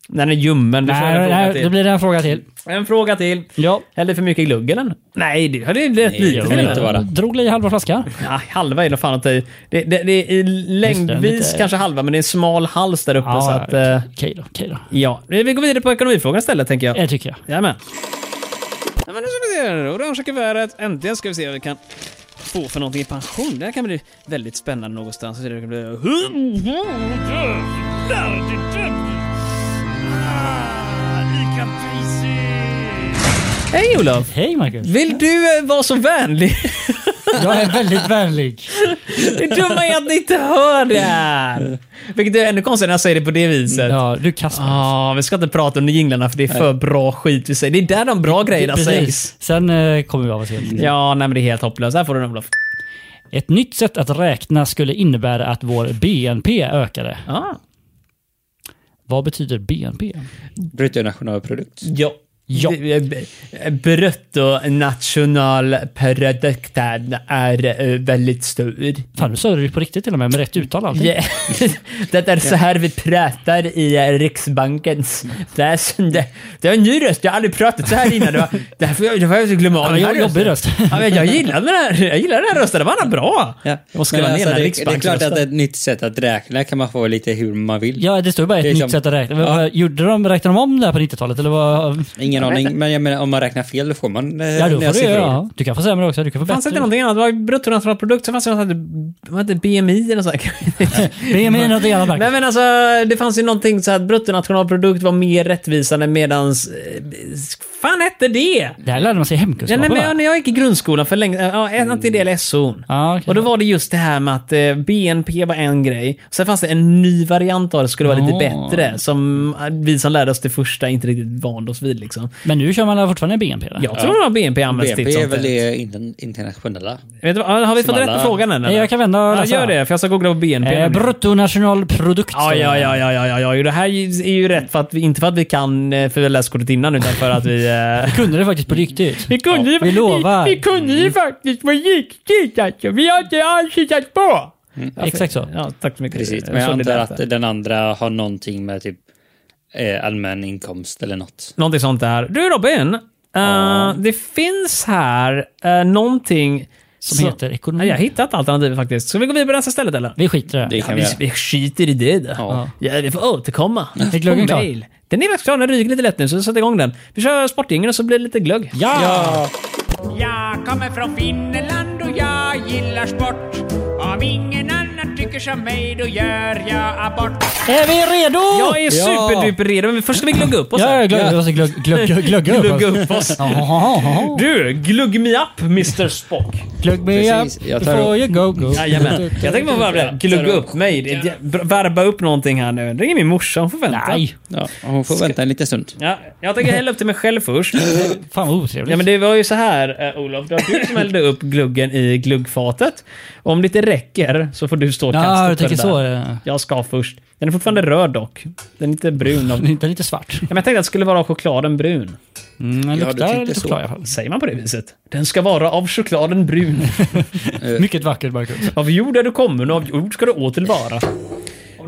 Speaker 2: Den är ljummen. Du får
Speaker 1: nej,
Speaker 2: en, fråga
Speaker 1: nej
Speaker 2: till.
Speaker 1: det blir en fråga till.
Speaker 2: en fråga till.
Speaker 1: Ja.
Speaker 2: Hällde för mycket glugg eller? Nej, det är rätt
Speaker 4: Nej, det
Speaker 2: lite.
Speaker 4: får
Speaker 2: eller?
Speaker 4: inte vara.
Speaker 1: Drog i halva flaskan.
Speaker 2: Ja, halva är nog fan att det, det, det, det är i längdvis
Speaker 1: lite-
Speaker 2: kanske halva, men det är en smal hals där uppe. så att, eh,
Speaker 1: Okej då, okej då.
Speaker 2: ja. Eh, Vi går vidare på ekonomifrågan istället, tänker jag.
Speaker 1: Det tycker jag.
Speaker 2: Jajamän. Ja, men nu ska vi se. här nu. Orangea kuvertet. Äntligen ska vi se vad vi kan få för någonting i pension. Det här kan bli väldigt spännande någonstans. Så Det kan bli... Hej Olof!
Speaker 1: Hej Marcus.
Speaker 2: Vill du eh, vara så vänlig?
Speaker 1: Jag är väldigt vänlig.
Speaker 2: Det dumma är att ni inte hör det här! Vilket är ännu konstigare när jag säger det på det viset. Ja.
Speaker 1: Ja, du kastar.
Speaker 2: vi ska inte prata under jinglarna för det är för bra skit vi säger. Det är där de bra grejerna sägs.
Speaker 1: Sen eh, kommer vi av oss helt.
Speaker 2: Ja, nej men det är helt hopplöst. Här får du den Olof.
Speaker 1: Ett nytt sätt att räkna skulle innebära att vår BNP ökade.
Speaker 2: Ah.
Speaker 1: Vad betyder BNP?
Speaker 4: Bruttonationalprodukt.
Speaker 2: Ja.
Speaker 1: Ja.
Speaker 2: eh, Bruttonationalprodukten är eh, väldigt stor.
Speaker 1: Fan, nu sa du det på riktigt till och med med rätt uttal och allting.
Speaker 2: Ja. Det är så här vi pratar i eh, Riksbankens väsen. Det, det är en ny röst, jag har aldrig pratat så här innan. Det var, därför jag, det var jag så glömma av
Speaker 1: Ja, men
Speaker 2: den här
Speaker 1: jag- jobbig
Speaker 2: rösten.
Speaker 1: röst.
Speaker 2: Ja, men jag gillar den här, jag gillar den här rösten, den var bra.
Speaker 4: Ja.
Speaker 2: Jag ska vara
Speaker 4: Men
Speaker 2: ner den här
Speaker 4: alltså, det, det är klart att
Speaker 2: Riksbanksrösten.
Speaker 4: ett nytt sätt att räkna kan man få lite hur man vill.
Speaker 1: Ja, det står ju bara ett
Speaker 4: Det är
Speaker 1: nytt
Speaker 4: som-
Speaker 1: sätt att räkna.
Speaker 4: Ja. Eh,
Speaker 1: Vad- Gjorde de, räknade de om det här på 90-talet? Eller vad?
Speaker 4: Ingen aning, men jag menar om man räknar fel då får man eh,
Speaker 1: Ja, då
Speaker 4: nya
Speaker 1: får du,
Speaker 4: siffror.
Speaker 1: ja. du kan få sämre också. Du kan få
Speaker 2: Fanns det inte
Speaker 1: bättre.
Speaker 2: någonting annat? Det var bruttonationalprodukt, så fanns det något som hette- vad hette BMI eller så. här.
Speaker 1: Det är med något annat
Speaker 2: Nej
Speaker 1: verkligen.
Speaker 2: men alltså, det fanns ju någonting så att bruttonationalprodukt var mer rättvisande medans... eh, fan hette det?
Speaker 1: Det här lärde man sig i
Speaker 2: Ja, nej,
Speaker 1: hemkunskapen
Speaker 2: men
Speaker 1: va?
Speaker 2: jag, när jag gick i grundskolan för länge ja, antingen det eller SO.
Speaker 4: Mm.
Speaker 1: Ja, okej.
Speaker 2: Och då var det just det här med att eh, BNP var en grej. Sen fanns det en ny variant av det, skulle vara lite
Speaker 1: Ja.
Speaker 2: bättre. Som eh, vi som lärde oss det första inte riktigt vande oss vid liksom.
Speaker 1: Men nu kör man fortfarande BNP? Då?
Speaker 2: Jag tror att BNP används till
Speaker 4: BP är
Speaker 2: sånt.
Speaker 4: väl det inter- internationella?
Speaker 2: Vet du, vad, har vi fått
Speaker 4: Som alla-
Speaker 2: rätt på frågan än?
Speaker 1: Nej, jag kan vända och
Speaker 2: ja,
Speaker 1: läsa.
Speaker 2: Gör det, för jag ska googla på BNP.
Speaker 1: Eh, bruttonationalprodukt.
Speaker 2: Ja, ja, ja, ja, ja, ja, ja. Jo, Det här är ju rätt för att vi, inte för att vi kan eh, för vi har läst kortet innan, utan för att vi... eh,
Speaker 1: Kunde det faktiskt på riktigt.
Speaker 2: Vi Mm. kunde, ju-
Speaker 1: vi lovar.
Speaker 2: Vi, vi kunde ju faktiskt på riktigt alltså. Vi har inte alls hittat på. Ja, för-
Speaker 1: Exakt så.
Speaker 2: Ja, tack Mm, så mycket.
Speaker 4: Precis,
Speaker 2: Jag
Speaker 4: men jag
Speaker 2: såg det
Speaker 4: antar
Speaker 2: där.
Speaker 4: att den andra har någonting med typ eh, allmän inkomst eller något.
Speaker 2: Någonting sånt där. Du Robin, eh, det finns här uh, någonting
Speaker 1: Som
Speaker 2: så-
Speaker 1: heter ekonomi.
Speaker 2: Nej, Jag har hittat alternativet faktiskt. Ska vi gå vidare på nästa stället eller?
Speaker 1: Vi skiter i det.
Speaker 4: Det
Speaker 2: Ja,
Speaker 4: kan vi
Speaker 2: vi,
Speaker 4: göra.
Speaker 2: vi skiter i det då.
Speaker 4: Ja.
Speaker 2: Ja, vi får återkomma.
Speaker 1: Är glöggen
Speaker 2: På
Speaker 1: klar?
Speaker 2: mail. Den är faktiskt klar. Den ryker lite lätt nu, så sätt igång den. Vi kör sportingen och så blir det lite glögg.
Speaker 1: Ja!
Speaker 7: Jag kommer från Finland och jag gillar sport. Om ingen annan tycker som mig då gör jag abort.
Speaker 1: Är vi redo?
Speaker 2: Jag är superduper redo, men först ska vi glugga upp oss.
Speaker 1: Ja,
Speaker 2: här.
Speaker 1: jag glögg, jag glögg, glögg, glögg, glögg, glögg,
Speaker 2: Glugga upp oss.
Speaker 1: Jaha,
Speaker 2: Du, glugg me up Mr Spock.
Speaker 1: glögg me up
Speaker 4: Precis, jag tar
Speaker 1: before you go, go.
Speaker 2: Jajamän. Jag tänker på bara det. Glugga upp mig. Det- det- Värva upp någonting här nu. Ring min morsa, hon får vänta.
Speaker 1: Nej,
Speaker 4: Ja, hon får vänta en liten stund.
Speaker 2: Ja, jag tänker hälla upp till mig själv först.
Speaker 1: fan vad otrevligt.
Speaker 2: Ja, men det var ju så här, eh, Olof. Det var du som hällde upp gluggen i gluggfatet. Om det inte räcker så får du stå
Speaker 1: Ja,
Speaker 2: kastet
Speaker 1: du
Speaker 2: för
Speaker 1: tänker
Speaker 2: det
Speaker 1: så,
Speaker 2: där.
Speaker 1: ja.
Speaker 2: Jag ska först. Den är fortfarande röd dock. Den är inte brun. Av...
Speaker 1: Den är lite svart.
Speaker 2: Ja, men jag tänkte att det skulle vara av chokladen brun.
Speaker 1: Mm, den
Speaker 4: Ja, du
Speaker 1: luktar
Speaker 4: tänkte
Speaker 1: lite
Speaker 4: så.
Speaker 1: choklad i alla fall.
Speaker 2: Säger man på det viset? Den ska vara av chokladen brun.
Speaker 4: Eh.
Speaker 1: Mycket vackert Marcus.
Speaker 2: Av jord är du kommen och av jord ska du åter vara.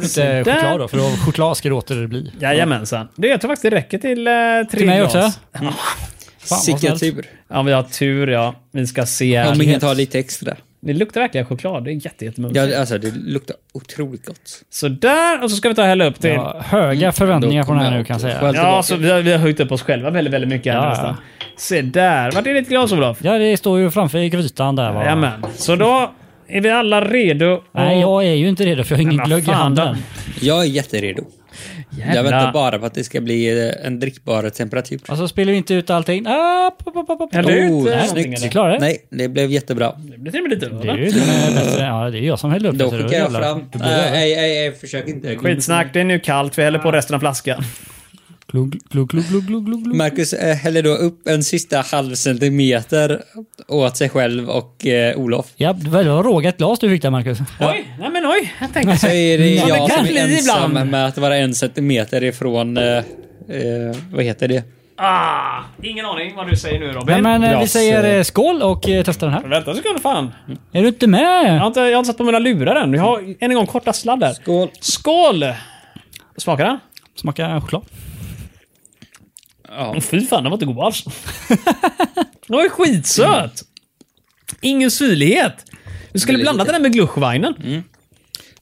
Speaker 1: Lite
Speaker 2: där.
Speaker 1: choklad då, för av choklad ska det åter bli.
Speaker 2: Jajamensan. Det, jag tror faktiskt det räcker till eh, tre
Speaker 1: Till mig
Speaker 2: glas.
Speaker 4: Mm.
Speaker 1: också? vad
Speaker 4: Sicken typ.
Speaker 1: snällt.
Speaker 4: tur.
Speaker 2: Ja, vi har tur ja. Vi ska se här.
Speaker 4: Om ingen tar lite extra.
Speaker 2: Det luktar verkligen choklad. Det är jätte, jättemumsigt.
Speaker 4: Ja, alltså det luktar otroligt gott.
Speaker 2: Sådär, och så ska vi ta och hälla upp till.
Speaker 1: Ja, höga förväntningar
Speaker 4: Då
Speaker 1: på den här
Speaker 4: kommer
Speaker 1: nu
Speaker 4: jag
Speaker 1: kan jag säga.
Speaker 4: Mm. själv
Speaker 2: Ja,
Speaker 4: tillbaka.
Speaker 2: så vi har, vi har höjt upp oss själva väldigt, väldigt mycket här
Speaker 1: Ja,
Speaker 2: nästan. Se där. Vart är ditt glas Olof?
Speaker 1: Ja, det står ju framför grytan där va?
Speaker 2: Jajamän. Så då är vi alla redo. och-
Speaker 1: Nej, jag är ju inte redo för jag har ingen
Speaker 2: Men vad
Speaker 1: glögg i
Speaker 2: fan,
Speaker 1: handen.
Speaker 2: då.
Speaker 4: Jag är jätteredo.
Speaker 2: Jävla-
Speaker 4: Jag väntar bara på att det ska bli eh, en drickbar temperatur.
Speaker 1: Och så spelar vi inte ut allting. Ah, pop, pop, pop, pop.
Speaker 2: Häller du ut
Speaker 4: Oh,
Speaker 2: eh,
Speaker 4: snyggt.
Speaker 2: någonting,
Speaker 1: Vi
Speaker 2: eller?
Speaker 1: klarar det?
Speaker 4: Nej, det blev jättebra.
Speaker 2: Det blir till och med lite
Speaker 1: Det är
Speaker 2: öl.
Speaker 1: ju till och med bättre. Ja, det är jag som häller upp
Speaker 4: Då
Speaker 1: så Alltså, det
Speaker 4: skickar jag
Speaker 1: rullar.
Speaker 4: fram... eh. Nej, nej, nej, nej, försök inte.
Speaker 2: Skitsnack, det är nu kallt. Vi häller på resten av flaskan.
Speaker 1: Glugg, glugg, glugg, glugg, glugg, glugg.
Speaker 4: Marcus eh, häller då upp en sista halv centimeter åt sig själv och eh, Olof.
Speaker 1: Ja, det var det var rågat glas du fick där Marcus.
Speaker 2: Oj, nej men oj. Jag tänkte
Speaker 4: Så är det
Speaker 2: Ja, det
Speaker 4: jag
Speaker 2: kan
Speaker 4: som
Speaker 2: bli
Speaker 4: är ensam
Speaker 2: ibland.
Speaker 4: med att vara en centimeter ifrån... Eh, eh, vad heter det?
Speaker 2: Ah, ingen aning vad du säger nu Robin.
Speaker 1: Nej, men eh, vi
Speaker 4: glas,
Speaker 1: säger
Speaker 4: eh,
Speaker 1: eh, skål och eh, testar den här.
Speaker 2: Vänta en sekund fan.
Speaker 1: Är du inte med?
Speaker 2: Jag har inte, jag har inte satt på mina lurar än. Jag har än en gång korta sladdar.
Speaker 4: Skål!
Speaker 2: Skål! Smakar den?
Speaker 1: Smakar choklad.
Speaker 4: Ja.
Speaker 2: Åh, Fy fan, den var inte god alls. den var ju skitsöt! Ingen syrlighet. Du skulle
Speaker 4: Väldigt
Speaker 2: blandat den
Speaker 4: lite.
Speaker 2: där med gluschweinen.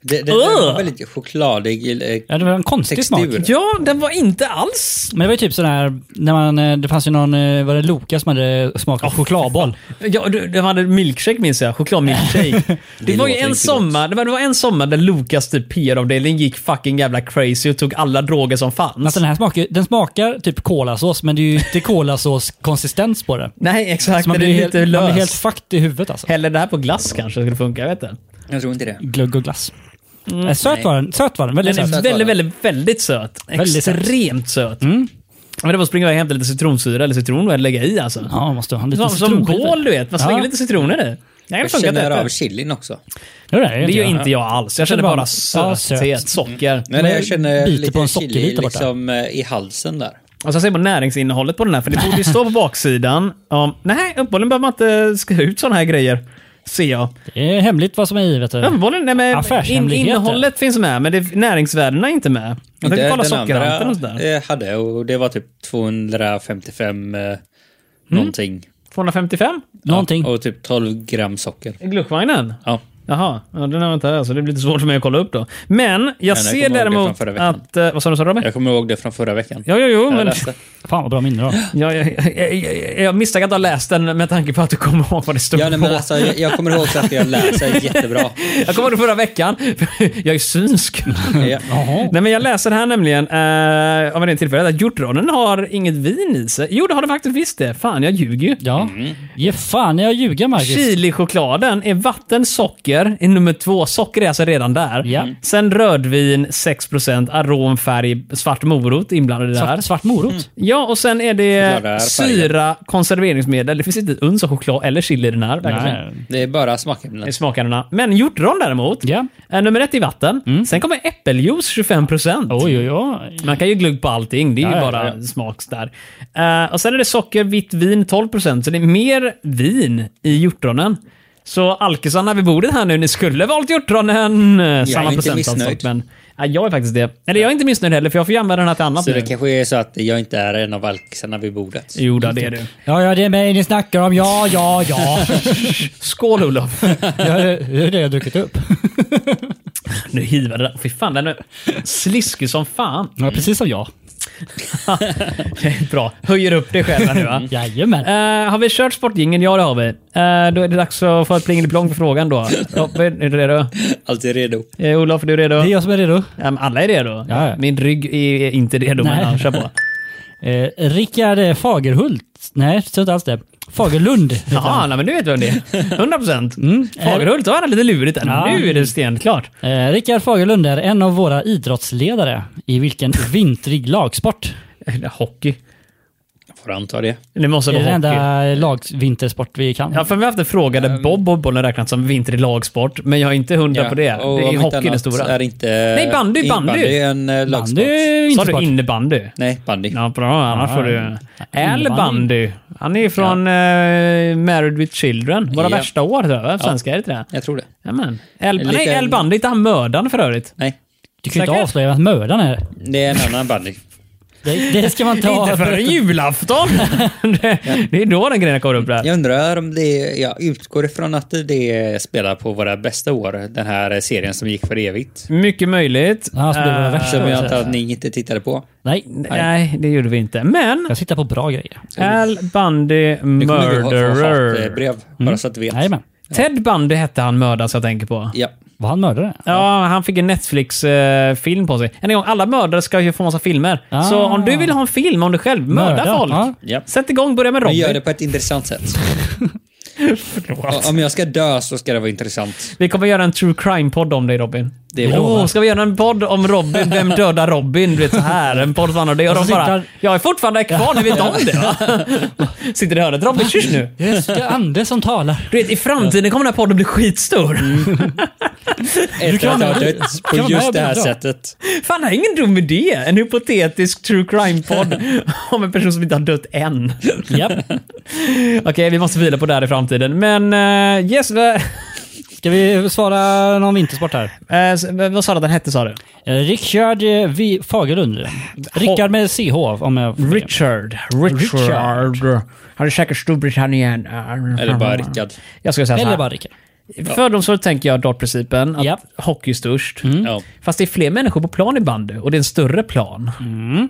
Speaker 4: Det, det, det
Speaker 2: Ugh.
Speaker 4: var väldigt chokladig. eh,
Speaker 1: Ja, det var en konstig
Speaker 4: Textur.
Speaker 1: smak.
Speaker 2: Ja, den var inte alls...
Speaker 1: Men det var ju typ sån här, när man, eh, det fanns ju någon, eh, var det Loka som hade smakat chokladboll?
Speaker 2: Ja, du, den hade milkshake minns jag. Chokladmilkshake. det, var ju
Speaker 4: låter
Speaker 2: en
Speaker 4: inte
Speaker 2: sommar, det var, det var en sommar där Lukas typ PR-avdelning gick fucking jävla crazy och tog alla droger som fanns.
Speaker 1: Alltså den här smakar, den smakar typ kolasås men det är ju inte kolasås-konsistens på det.
Speaker 2: Nej, exakt.
Speaker 1: Så man
Speaker 2: Den är
Speaker 1: blir, helt,
Speaker 2: lite
Speaker 1: man blir
Speaker 2: lös.
Speaker 1: helt fucked i huvudet alltså.
Speaker 2: Häller det här på glass kanske skulle funka, jag vet inte.
Speaker 4: Jag tror inte det.
Speaker 1: Glögg och glass. Eh, Söt var den, söt var den. Väldigt
Speaker 2: Mm. Den
Speaker 1: söt.
Speaker 2: är
Speaker 4: söt
Speaker 2: väldigt,
Speaker 4: var den.
Speaker 2: väldigt, väldigt söt. Mm.
Speaker 1: Väldigt söt.
Speaker 2: Extremt söt. Men det var att springa iväg och hämta lite citronsyra eller citron och lägga i alltså.
Speaker 1: Ja, man måste ha en liten
Speaker 2: som som
Speaker 1: citronskiva.
Speaker 2: bål du vet, man slänger
Speaker 1: Ja.
Speaker 2: lite citroner i. Det kan
Speaker 4: Jag
Speaker 2: funka
Speaker 4: känner
Speaker 2: detta.
Speaker 4: av chilin också.
Speaker 1: Ja, det
Speaker 2: Det
Speaker 1: är
Speaker 2: gör
Speaker 1: jag.
Speaker 2: inte jag alls. Jag känner
Speaker 1: känner
Speaker 2: bara
Speaker 1: bara- ja,
Speaker 2: söthet,
Speaker 1: söt.
Speaker 2: socker.
Speaker 4: Nej, nej, jag känner
Speaker 1: Biter
Speaker 4: lite
Speaker 1: på en
Speaker 4: chili
Speaker 1: sockerbit där borta.
Speaker 4: liksom, eh, i halsen där.
Speaker 2: Och så ser man näringsinnehållet på den här, för det borde ju stå på baksidan. Om, nej, uppenbarligen behöver man inte skriva ut sådana här grejer. Ser jag.
Speaker 1: Det är hemligt vad som är i vet du.
Speaker 2: Uppenbarligen, nej men in,
Speaker 1: Affärshemligheter.
Speaker 2: innehållet finns med, men det, näringsvärdena är inte med. Jag tänkte kolla sockerhalten och sådär.
Speaker 4: eh, hade och det var typ 255 eh,
Speaker 2: Mm.
Speaker 4: någonting.
Speaker 2: 255?
Speaker 1: Någonting.
Speaker 4: Ja, och typ 12 gram socker.
Speaker 2: I Gluschweinen?
Speaker 4: Ja.
Speaker 2: Jaha, ja, den har jag inte här, så det blir lite svårt för mig att kolla upp då. Men jag
Speaker 4: jag kommer
Speaker 2: ser
Speaker 4: ihåg det från
Speaker 2: däremot
Speaker 4: förra veckan.
Speaker 2: att... eh, Vad sa du, sa du Robin?
Speaker 4: Jag kommer ihåg det från förra veckan.
Speaker 2: Ja, jo, jo,
Speaker 4: Jag
Speaker 2: men... typ
Speaker 4: läste.
Speaker 1: Fan vad bra minne då.
Speaker 2: Jag, jag, jag, jag, jag misstänker att du har läst den med tanke på att du kommer ihåg vad det stod
Speaker 4: Ja, nej,
Speaker 2: på.
Speaker 4: men alltså, jag, jag kommer ihåg så att jag läser jättebra.
Speaker 2: Jag kommer ihåg det förra veckan. jag är synsk.
Speaker 4: Ja.
Speaker 2: Nej, men jag läser här nämligen eh, av en ren tillfälle att hjortronen har inget vin i sig. Jo, det har den faktiskt visst det. Fan, jag ljuger ju.
Speaker 1: Ja. Ge fan jag ljuger Marcus.
Speaker 2: Chilichokladen är vatten, socker, socker är nummer två. Socker är alltså redan där.
Speaker 1: Ja.
Speaker 2: Sen rödvin 6%, aromfärg, svart morot inblandad i det här.
Speaker 1: Svart, svart morot.
Speaker 2: Ja, och sen är
Speaker 4: Glada är
Speaker 2: det
Speaker 4: färgen.
Speaker 2: syra, konserveringsmedel. Det finns inte ett uns av choklad eller chili i den här. verkar det som.
Speaker 1: Nej.
Speaker 4: Det är bara
Speaker 2: I
Speaker 4: smakämnen.
Speaker 2: smakämnena. Men hjortron däremot.
Speaker 1: Ja. Mm.
Speaker 2: är Nummer ett i vatten. Sen kommer äppeljuice 25%.
Speaker 1: Oj, oj, oj.
Speaker 2: Man kan ju glugg på allting. Det är ju
Speaker 1: Ja, ja,
Speaker 2: bara
Speaker 1: ja.
Speaker 2: smaks där. Eh, och sen är det socker, vitt vin 12%. Så det är mer vin i hjortronen. Så alkisarna vid bordet här nu, ni skulle valt hjortronen. Jag Samma
Speaker 4: inte
Speaker 2: procent
Speaker 4: missnöjd.
Speaker 2: Alltså, men, ja, jag är faktiskt det. Eller jag är inte missnöjd heller, för jag får ju använda den här till annat
Speaker 4: Så
Speaker 2: nu.
Speaker 4: det kanske är så att jag inte är en av alkisarna vid bordet.
Speaker 2: Jo, då, det är du.
Speaker 1: Ja, ja, det är mig ni snackar om. Ja, ja, ja.
Speaker 2: Skål Olof!
Speaker 1: Det är det jag har druckit upp.
Speaker 2: Nu hivar det där. Fy fan, den är sliskig som fan.
Speaker 1: Ja, precis som jag.
Speaker 2: Det är Bra. Höjer upp dig själv här nu va?
Speaker 1: Jajamän.
Speaker 2: Eh, har vi kört sportgingen? Ja, det har vi. Eh, då är det dags att få ett plingeliplong för frågan då. Loppe, är du redo?
Speaker 4: Alltid redo.
Speaker 2: Uh, Olof, är du redo?
Speaker 1: Det är jag som är redo.
Speaker 2: Ja, men alla är redo.
Speaker 1: Ja, ja.
Speaker 2: Min rygg är är inte redo, men
Speaker 1: Nej.
Speaker 2: ja, kör på.
Speaker 1: Eh, Rickard Fagerhult. Nej, jag tror inte alls det. Fagerlund. heter
Speaker 2: Jaha,
Speaker 1: han.
Speaker 2: nej, men nu vet vi vem det är. 100 procent.
Speaker 1: eh.
Speaker 2: Fagerhult har han lite lurigt där.
Speaker 1: Ja.
Speaker 2: Nu är det stenklart.
Speaker 1: Eh, Rickard Fagerlund är en av våra idrottsledare. I vilken vintrig lagsport?
Speaker 2: Eller Eh, Hockey.
Speaker 4: Jag får anta det.
Speaker 2: Det måste
Speaker 1: Det är
Speaker 2: vara
Speaker 1: den
Speaker 2: hockey.
Speaker 1: enda lagvintersport vi kan.
Speaker 2: Ja, för vi har haft en fråga där
Speaker 4: Ehm.
Speaker 2: Bob och bollen räknats som vinter i lagsport, men jag är inte hundra på det.
Speaker 4: och
Speaker 2: Det
Speaker 4: om
Speaker 2: är
Speaker 4: inte
Speaker 2: hockey den
Speaker 4: annat
Speaker 2: stora.
Speaker 4: Är inte,
Speaker 2: Nej, bandy, bandy.
Speaker 4: Bandy är en eh, lagsport.
Speaker 1: Bandy är ju
Speaker 2: Sa
Speaker 1: inte
Speaker 2: du
Speaker 1: sport.
Speaker 2: innebandy?
Speaker 4: Nej, bandy.
Speaker 2: Ja, bra. Annars
Speaker 1: Ja.
Speaker 2: får du... Eller
Speaker 1: Innebandy.
Speaker 2: bandy. Han är från eh, Married with Children. Våra
Speaker 4: Ja.
Speaker 2: värsta år, tror jag. Svenska, är det inte det?
Speaker 4: Jag tror det.
Speaker 2: Jajamän. El,
Speaker 4: En
Speaker 2: Nej,
Speaker 4: liten-
Speaker 2: El Bandy, inte han mördaren för övrigt?
Speaker 4: Nej,
Speaker 1: du kan ju inte
Speaker 2: säkert.
Speaker 1: avslöja vem mördaren är.
Speaker 4: det är en annan bandy.
Speaker 1: Det, det ska man ta.
Speaker 2: Inte förrän julafton! det, det är då den grejen kommer upp där.
Speaker 4: Jag undrar om det... Jag utgår ifrån att det spelar på våra bästa år. Den här serien som gick för evigt.
Speaker 2: Mycket möjligt.
Speaker 1: Ja, så blir det
Speaker 2: Eh,
Speaker 1: värsta.
Speaker 4: Som jag antar att ni inte tittade på.
Speaker 1: Nej,
Speaker 2: nej, det gjorde vi inte. Men
Speaker 1: jag sitter på bra grejer.
Speaker 2: Al Bundy
Speaker 4: Nu kommer vi få- få
Speaker 1: eh,
Speaker 2: Murderer.
Speaker 4: hatbrev, bara så att du vet.
Speaker 1: Jajamän.
Speaker 2: Ted Bundy hette han mördaren som jag tänker på.
Speaker 4: Ja.
Speaker 1: Var han mördare?
Speaker 2: Ja, han fick en Netflix-film på sig. En gång, alla mördare ska ju få massa filmer.
Speaker 1: Ah.
Speaker 2: Så om du vill ha en film om dig själv, mörda,
Speaker 1: Mörda,
Speaker 2: folk.
Speaker 1: ja.
Speaker 4: Ja.
Speaker 2: Sätt igång, börja med
Speaker 4: Men
Speaker 2: Robin.
Speaker 4: gör det på ett intressant sätt. Om jag ska dö så ska det vara intressant.
Speaker 2: Vi kommer göra en true crime-podd om dig Robin.
Speaker 4: Det är
Speaker 2: Åh,
Speaker 4: bra.
Speaker 2: ska vi göra en podd om Robin? Vem dödar Robin? Du vet så här. En podd för honom och dig. Och
Speaker 1: Och
Speaker 2: de
Speaker 1: så sitter
Speaker 2: bara,
Speaker 1: han-
Speaker 2: jag är fortfarande kvar, ni vet om det va? Sitter i hörnet. Robin, kyss nu.
Speaker 1: Det är Anders som talar.
Speaker 2: Du vet, i framtiden kommer den här podden bli skitstor.
Speaker 1: Mm.
Speaker 4: Efter
Speaker 1: kan-
Speaker 4: att ha dött på
Speaker 1: kan vara
Speaker 4: just det här
Speaker 1: bra.
Speaker 4: sättet.
Speaker 2: Fan, det här är ingen dum idé. En hypotetisk true crime-podd om en person som inte har dött än.
Speaker 1: Japp.
Speaker 2: Okej, vi måste vila på det här i framtiden. Men eh, yes, va-
Speaker 1: Ska vi svara någon vintersport här?
Speaker 2: eh, s- vad vad sa du att den hette sa du?
Speaker 1: Eh, Richard eh, Vi- Fagerlund. Rickard med CH om jag får det.
Speaker 2: Richard. Richard. Han är säkert Storbritannien.
Speaker 4: Eller bara Rickard.
Speaker 2: Jag skulle säga så
Speaker 1: Eller
Speaker 2: här.
Speaker 1: bara Rickard.
Speaker 2: Fördomsfullt tänker jag dartprincipen. Att
Speaker 1: Ja.
Speaker 2: hockey är störst.
Speaker 1: Mm.
Speaker 4: Ja.
Speaker 2: Fast det är fler människor på plan i bandy och det är en större plan.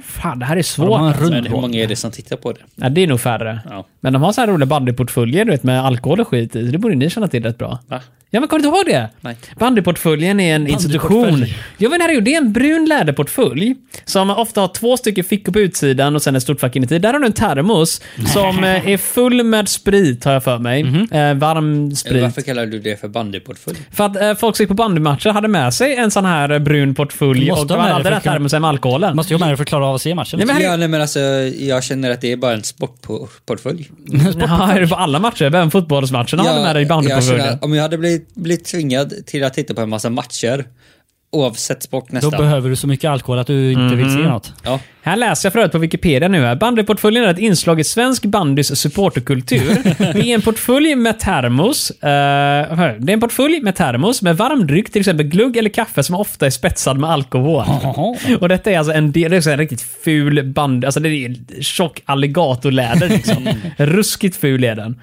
Speaker 2: Fan, det här är svårt.
Speaker 1: De Mm. har en
Speaker 2: alltså.
Speaker 1: rund
Speaker 4: Men hur många är det som tittar på det?
Speaker 2: Ja, det är nog färre.
Speaker 4: Ja.
Speaker 2: Men de har så här roliga bandyportföljer du vet, med alkohol och skit i. så Det borde ni känna till rätt bra.
Speaker 4: Va?
Speaker 2: Ja, men kommer du inte ihåg det?
Speaker 4: Nej.
Speaker 2: Bandyportföljen är en institution.
Speaker 1: Bandyportfölj.
Speaker 2: Jag vet inte, det är en brun läderportfölj som ofta har två stycken fickor på utsidan och sen ett stort fack inuti. Där har du en termos som eh, är full med sprit, har jag för mig.
Speaker 1: Mhm.
Speaker 2: Eh, varm sprit.
Speaker 4: Varför kallar du det för bandyportfölj?
Speaker 2: För att eh, folk som gick på bandymatcher hade med sig en sån här eh, brun portfölj
Speaker 1: Måste
Speaker 2: och
Speaker 1: de
Speaker 2: man
Speaker 1: ha det för
Speaker 2: hade den här
Speaker 1: att kunna-
Speaker 2: termosen med alkoholen.
Speaker 1: Måste ju ha med det för att klara av att se matchen.
Speaker 2: Nej, men här är-
Speaker 4: Ja, nej, men alltså, jag känner att det är bara en sportportfölj.
Speaker 2: Ja, är det på alla matcher? Även fotbollsmatcherna har du med dig i
Speaker 4: jag känner
Speaker 2: bandyportföljen?
Speaker 4: att om jag hade blivit, blivit tvingad till att titta på en massa matcher, oavsett sport
Speaker 1: Då
Speaker 4: nästan.
Speaker 1: behöver du så mycket alkohol att du inte vill se något.
Speaker 4: ja.
Speaker 2: Här läser jag för övrigt på Wikipedia nu. här. Bandyportföljen är ett inslag i svensk bandys supporterkultur. Det är en portfölj med termos. eh, hör, det är en portfölj med termos med varm dryck, till exempel glugg eller kaffe som ofta är spetsad med alkohol.
Speaker 1: Jaha.
Speaker 2: Och detta är alltså en del, det är så en riktigt ful band, alltså det är tjock alligatorläder liksom. Ruskigt ful är den.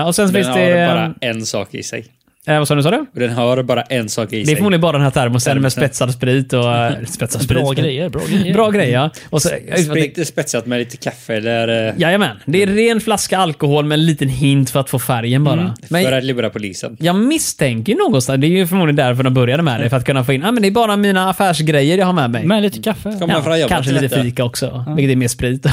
Speaker 2: Eh, och sen
Speaker 4: Mm. Den
Speaker 2: finns
Speaker 4: har
Speaker 2: det... ehm,
Speaker 4: bara en sak i sig.
Speaker 2: eh, vad sa du? Sa du?
Speaker 4: Och den har bara en sak i
Speaker 2: Det är
Speaker 4: sig.
Speaker 2: förmodligen bara den här termosen med
Speaker 4: Termosen.
Speaker 2: spetsad sprit och... eh, Spetsad sprit.
Speaker 1: Bra grejer, bra grejer.
Speaker 2: Bra grejer, ja. Och så,
Speaker 4: Sprit är spetsat med lite kaffe eller... eh,
Speaker 2: Jajamän. Det är ren flaska alkohol med en liten hint för att få färgen bara. Men
Speaker 4: Mm. För att lura polisen.
Speaker 2: jag misstänker någonstans, det är ju förmodligen därför de började
Speaker 4: Mm.
Speaker 2: med det, för att kunna få in, ah, men det är bara mina affärsgrejer jag har med mig.
Speaker 1: Med lite kaffe.
Speaker 4: Kom. man från jobbet
Speaker 2: kanske
Speaker 4: till
Speaker 2: lite
Speaker 4: detta?
Speaker 2: fika också, vilket är mer sprit.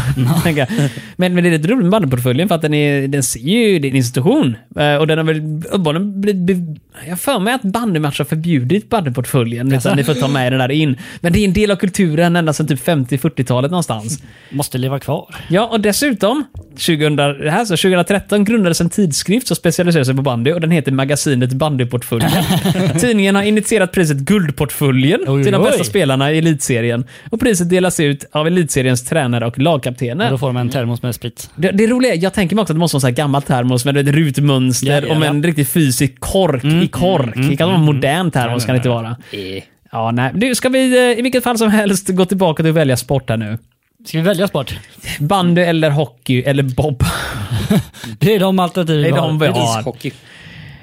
Speaker 2: tänker jag. men, men det är lite roligt med bandyportföljen för att den, är, den ser ju, det är en institution. Eh, Och den har väl uppenbarligen blivit jag har för mig att bandymatcher har förbjudit bandyportföljen. Utan ni får ta med den där in. Men det är en del av kulturen ända sedan typ 50-40-talet någonstans.
Speaker 1: Måste leva kvar.
Speaker 2: Ja, och dessutom, 2000, det här, så 2013 grundades en tidskrift som specialiserar sig på bandy och den heter Magasinet Bandyportföljen. Tidningen har initierat priset Guldportföljen
Speaker 1: Oj,
Speaker 2: till de
Speaker 1: oj.
Speaker 2: bästa spelarna i elitserien. Och priset delas ut av elitseriens tränare och lagkaptener.
Speaker 1: Då får man en termos med sprit.
Speaker 2: Det, det roliga är, jag tänker mig också att det måste vara en sån här gammal termos med ett rutmönster
Speaker 1: Ja, ja,
Speaker 2: och med
Speaker 1: ja.
Speaker 2: en riktig fysisk kork
Speaker 1: Mm,
Speaker 2: i kork. det kan vara en modern termos, kan det inte vara.
Speaker 4: Eh,
Speaker 2: Ja, nej. Du, ska vi eh, i vilket fall som helst gå tillbaka till att välja sport här nu?
Speaker 1: Mm. Ska vi välja sport?
Speaker 2: Bandy eller hockey eller bob?
Speaker 1: Det är de alternativ
Speaker 2: Det är
Speaker 1: vi
Speaker 2: de vi
Speaker 1: har.
Speaker 2: har.
Speaker 4: Ishockey.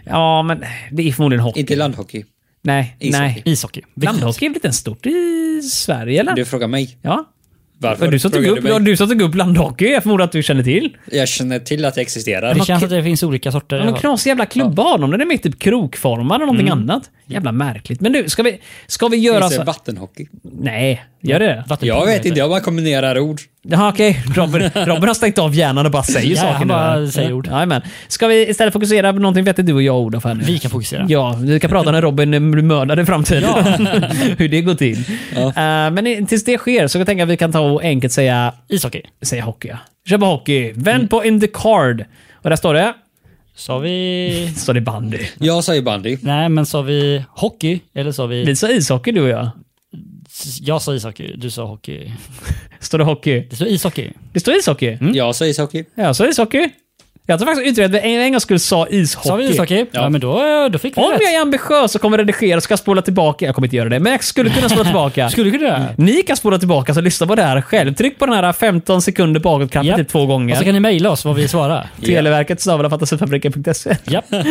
Speaker 2: Ja, men det är förmodligen hockey.
Speaker 4: Inte landhockey.
Speaker 2: Nej,
Speaker 4: ishockey.
Speaker 2: nej.
Speaker 1: Ishockey.
Speaker 2: Landhockey är väl inte ens stort i Sverige, eller?
Speaker 4: Du frågar mig.
Speaker 2: Ja.
Speaker 4: Varför?
Speaker 2: du som tog
Speaker 4: frågar
Speaker 2: upp,
Speaker 4: mig?
Speaker 2: ja, du som tog upp landhockey. Jag förmodar att du känner till.
Speaker 4: Jag känner till att det existerar.
Speaker 1: Det
Speaker 4: Det
Speaker 1: känns att det finns olika sorter.
Speaker 2: De knasiga jävla klubban. Om den är mer typ krokformad eller någonting annat. Jävla märkligt. Men du, ska vi, ska vi göra
Speaker 4: finns
Speaker 2: så...
Speaker 4: det vattenhockey.
Speaker 2: Nej, gör det det?
Speaker 1: Vattenpolo
Speaker 4: Jag vet
Speaker 1: heter
Speaker 4: inte, jag bara kombinerar ord.
Speaker 2: Jaha, okej. Robin, Robin har stängt av hjärnan och bara säger
Speaker 1: Ja,
Speaker 2: saker.
Speaker 1: han
Speaker 2: nu.
Speaker 1: bara säger ord.
Speaker 2: Jajamän. Ska vi istället fokusera på någonting vettigt du och jag Olof här nu?
Speaker 1: det. Vi kan fokusera.
Speaker 2: Ja, vi kan prata när Robin blir mördad i framtiden. Hur det går till.
Speaker 4: Ja.
Speaker 2: Eh, men i- tills det sker så jag tänker jag att vi kan ta och enkelt säga,
Speaker 1: Ishockey.
Speaker 2: säga hockey. ja. Kör på hockey. Vänd
Speaker 1: Mm.
Speaker 2: på in the card. Och där står det?
Speaker 1: Sa vi...
Speaker 2: Står det bandy.
Speaker 4: Jag sa ju bandy.
Speaker 2: Mm.
Speaker 1: Nej, men sa vi hockey? Eller sa vi...
Speaker 2: Vi sa ishockey du och jag.
Speaker 1: Jag sa ishockey, du sa hockey.
Speaker 2: Står det hockey?
Speaker 1: Det står ishockey.
Speaker 2: Det står ishockey.
Speaker 1: Mm.
Speaker 4: Jag sa ishockey.
Speaker 2: Jag sa ishockey. Jag tror faktiskt utrett att vi en en gång skulle sa ishockey.
Speaker 1: Sa vi ishockey? Ja, men då, då fick vi
Speaker 2: Om
Speaker 1: rätt.
Speaker 2: jag är ambitiös och kommer redigera ska jag spola tillbaka. Jag kommer inte göra det, men jag skulle kunna spola tillbaka.
Speaker 1: Skulle du kunna göra?
Speaker 2: Ni kan spola tillbaka så lyssna på det här själv. Tryck på den här 15 sekunder bakåt knappen
Speaker 1: Japp.
Speaker 2: typ två gånger.
Speaker 1: Och så kan ni mejla oss vad vi svarar.
Speaker 2: Televerket snabel-a fantasifabriken.se.
Speaker 1: Japp,
Speaker 2: E.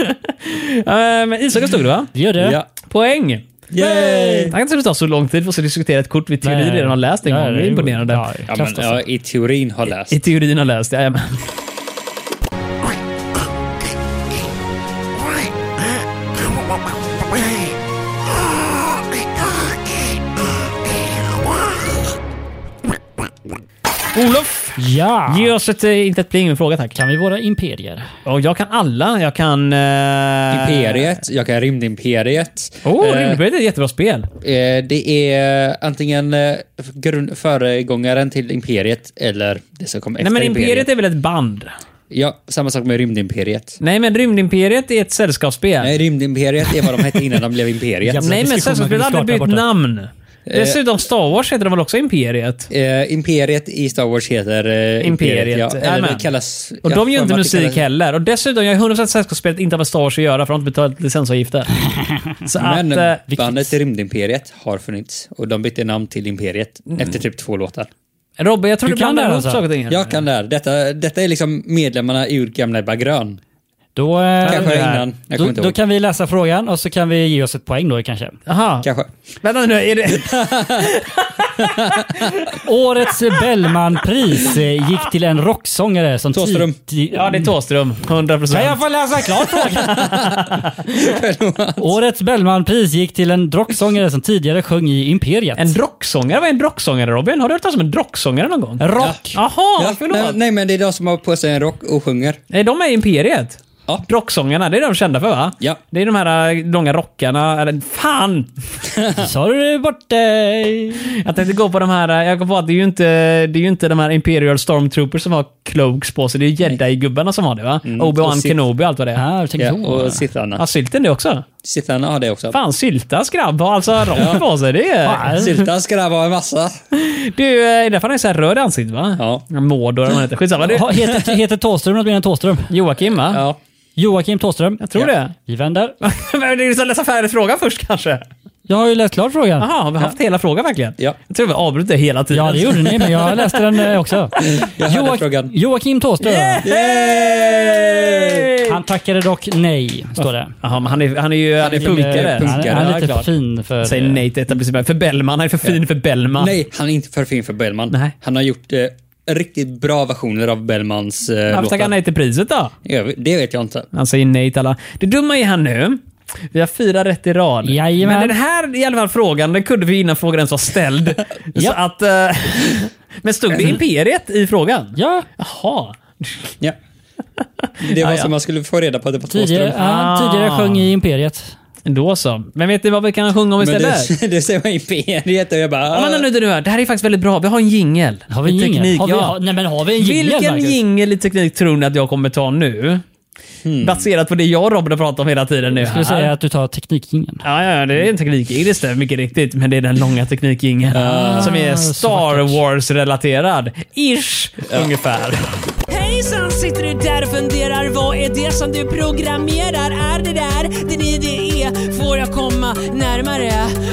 Speaker 2: Ehm, Ishockey stod det va?
Speaker 1: det gör det.
Speaker 4: Ja.
Speaker 2: Poäng!
Speaker 4: Yay!
Speaker 2: Man kan inte ta så lång tid för att diskutera ett kort vi i teorin
Speaker 1: Nej.
Speaker 2: redan har läst en gång.
Speaker 1: Ja,
Speaker 2: Det är
Speaker 1: jo.
Speaker 2: imponerande.
Speaker 1: Ja,
Speaker 4: Ja, men,
Speaker 1: kasta sig.
Speaker 4: ja, I teorin har läst.
Speaker 2: I teorin har läst, jajamän. Olof,
Speaker 1: ja.
Speaker 2: ge oss ett, eh, inte ett pling, en fråga tack.
Speaker 1: Kan vi våra imperier?
Speaker 2: Och jag kan alla. Jag kan... eh,
Speaker 4: Imperiet, jag kan Rymdimperiet.
Speaker 2: Åh,
Speaker 4: Eh,
Speaker 2: Rymdberget är ett jättebra spel.
Speaker 4: eh, Det är antingen eh, grund, föregångaren till Imperiet eller det som kom efter
Speaker 2: Nej men
Speaker 4: Imperiet.
Speaker 2: Imperiet är väl ett band?
Speaker 4: Ja, samma sak med Rymdimperiet.
Speaker 2: Nej men Rymdimperiet är ett sällskapsspel.
Speaker 4: Nej, Rymdimperiet är vad de hette innan de blev Imperiet.
Speaker 1: Jävla
Speaker 2: Nej men
Speaker 1: diskussion man
Speaker 2: sällskapsspel har
Speaker 1: kunde
Speaker 2: aldrig
Speaker 1: starta
Speaker 2: bytt
Speaker 1: borta.
Speaker 2: namn. Dessutom Star Wars heter de väl också Imperiet?
Speaker 4: Eh, imperiet i Star Wars heter eh,
Speaker 2: Imperiet,
Speaker 4: Imperiet. Ja, eller
Speaker 2: jajamän.
Speaker 4: det kallas...
Speaker 2: Och
Speaker 4: ja,
Speaker 2: de gör
Speaker 4: för
Speaker 2: inte
Speaker 4: att det
Speaker 2: musik
Speaker 4: kallas-
Speaker 2: heller. Och dessutom, jag är 100% säker på att spelet inte har med Star Wars att göra för de har inte betalat licensavgifter. Så
Speaker 4: Men
Speaker 2: att... eh,
Speaker 4: bandet Rymdimperiet har funnits och de bytte namn till Imperiet
Speaker 2: Mm.
Speaker 4: efter typ två låtar.
Speaker 2: Robin, jag tror
Speaker 1: Du
Speaker 2: du
Speaker 1: kan
Speaker 2: blandar
Speaker 1: det här
Speaker 2: ihop
Speaker 1: alltså?
Speaker 2: saker och ting. här.
Speaker 4: Jag kan det här. Detta, detta är liksom medlemmarna ur gamla Ebba Grön.
Speaker 1: Då, eh,
Speaker 4: Kanske
Speaker 2: det här.
Speaker 4: innan. Jag kommer
Speaker 1: då,
Speaker 4: inte
Speaker 1: då
Speaker 4: ihåg.
Speaker 1: kan vi läsa frågan och så kan vi ge oss ett poäng då kanske.
Speaker 2: Aha.
Speaker 4: Kanske.
Speaker 2: Vänta nu, är det...
Speaker 1: Årets Bellmanpris eh, gick till en rocksångare som...
Speaker 4: Thåström.
Speaker 1: tid-
Speaker 2: Ja, det är Thåström. 100%.
Speaker 1: Kan jag få läsa klart frågan? Årets Bellmanpris gick till en rocksångare som tidigare sjöng i Imperiet.
Speaker 2: En rocksångare? Vad är en rocksångare Robin? Har du hört talas om en rocksångare någon gång?
Speaker 1: rock.
Speaker 2: Jaha,
Speaker 4: Ja,
Speaker 2: förlåt.
Speaker 4: nej, nej, men det är de som har på sig en rock och sjunger.
Speaker 2: Nej, de är Imperiet.
Speaker 4: Ja.
Speaker 2: Rocksångarna, det är de kända för va?
Speaker 4: Ja.
Speaker 2: Det är de här äh, långa rockarna. eller- Fan!
Speaker 1: Sa du det bort dig?
Speaker 2: Jag tänkte gå på de här, äh, jag kom på att det är ju inte, det är ju inte de här Imperial Stormtroopers som har cloaks på sig. Det är ju jedi-gubbarna som har det va?
Speaker 4: och
Speaker 2: Obi-Wan
Speaker 4: Sith.
Speaker 2: Kenobi och allt vad det är.
Speaker 1: Ja, du tänker
Speaker 4: Ja,
Speaker 1: så.
Speaker 4: och
Speaker 2: Ja,
Speaker 4: Sitharna.
Speaker 2: sylten det också.
Speaker 4: Sitharna har det också.
Speaker 2: Fan, syltas grabb har alltså rock på sig. Det är...
Speaker 1: Fan.
Speaker 4: Syltan ska det vara en massa.
Speaker 2: Du, äh, det är därför han är så här röd i ansiktet va?
Speaker 4: Ja.
Speaker 2: Mordor eller vad han heter. Skitsamma. Du,
Speaker 1: Ha- Heter, heter Thåström något mer än Thåström?
Speaker 2: Joakim va?
Speaker 4: Ja.
Speaker 1: Joakim Thåström.
Speaker 2: Jag tror det.
Speaker 1: Vi vänder.
Speaker 2: Men det är ju så att läsa färdigt frågan först kanske.
Speaker 1: Jag har ju läst klart frågan.
Speaker 2: Jaha, har vi haft hela frågan verkligen?
Speaker 4: Ja.
Speaker 2: Jag tror vi avbröt det hela tiden.
Speaker 1: Ja, det gjorde ni, men jag läste den eh, också.
Speaker 4: Jag hörde frågan.
Speaker 1: Joakim Thåström.
Speaker 2: Yay!
Speaker 1: Han tackade dock nej, står det. Eh,
Speaker 2: Jaha, men han är, han är ju han är punkare.
Speaker 1: Han,
Speaker 4: Punkare,
Speaker 1: han är
Speaker 4: ja,
Speaker 1: lite för
Speaker 4: klart.
Speaker 1: fin för...
Speaker 2: Säg nej till etablissemanget. För Bellman, han är för fin för Bellman.
Speaker 4: Nej, han är inte för fin för Bellman.
Speaker 2: Nej.
Speaker 4: Han har gjort eh, riktigt bra versioner av Bellmans eh,
Speaker 2: Varför tackar
Speaker 4: låtar.
Speaker 2: han nej till priset då?
Speaker 4: Jag vet- Det vet jag inte.
Speaker 2: Han säger nej till alla. Det dumma är han nu. Vi har fyra rätt i rad.
Speaker 1: Jajamän.
Speaker 2: Men den här i alla fall frågan, den kunde vi innan frågan ens var ställd. Så att... eh, men stod det Imperiet i frågan?
Speaker 1: Ja,
Speaker 2: Jaha.
Speaker 4: Ja. Det var
Speaker 2: Ja, ja.
Speaker 4: som man skulle få reda på att det var två
Speaker 1: Tidigare,
Speaker 4: strumpor.
Speaker 2: Ah.
Speaker 1: ja, tidigare sjöng i Imperiet.
Speaker 2: Då så. Men vet ni vad vi kan sjunga om
Speaker 4: Men
Speaker 2: istället?
Speaker 4: det, det ser man i imperiet och jag bara...
Speaker 2: Ja, men
Speaker 4: ah.
Speaker 2: nu, nu, nu, det här är faktiskt väldigt bra. Vi har en jingel.
Speaker 1: Har vi en
Speaker 2: I
Speaker 1: jingel?
Speaker 2: teknik,
Speaker 1: Har vi-
Speaker 2: ja.
Speaker 1: har- nej, men har vi en jingel,
Speaker 2: Vilken
Speaker 1: Marcus?
Speaker 2: jingel i teknik tror ni att jag kommer ta nu? Baserat på det jag och Robin har pratat om hela tiden nu.
Speaker 1: Hmm. Jag skulle
Speaker 2: här.
Speaker 1: säga att du tar teknikingen.
Speaker 2: Ja, ja, ja, det är en teknikjingel, det stämmer mycket riktigt. Men det är den långa teknikjingeln. som är
Speaker 1: så
Speaker 2: Star
Speaker 1: vackert.
Speaker 2: Wars-relaterad. Ish, ungefär.
Speaker 8: Hejsan, sitter du där och funderar? Vad är det som du programmerar? Är det där din idé? Får jag komma närmare?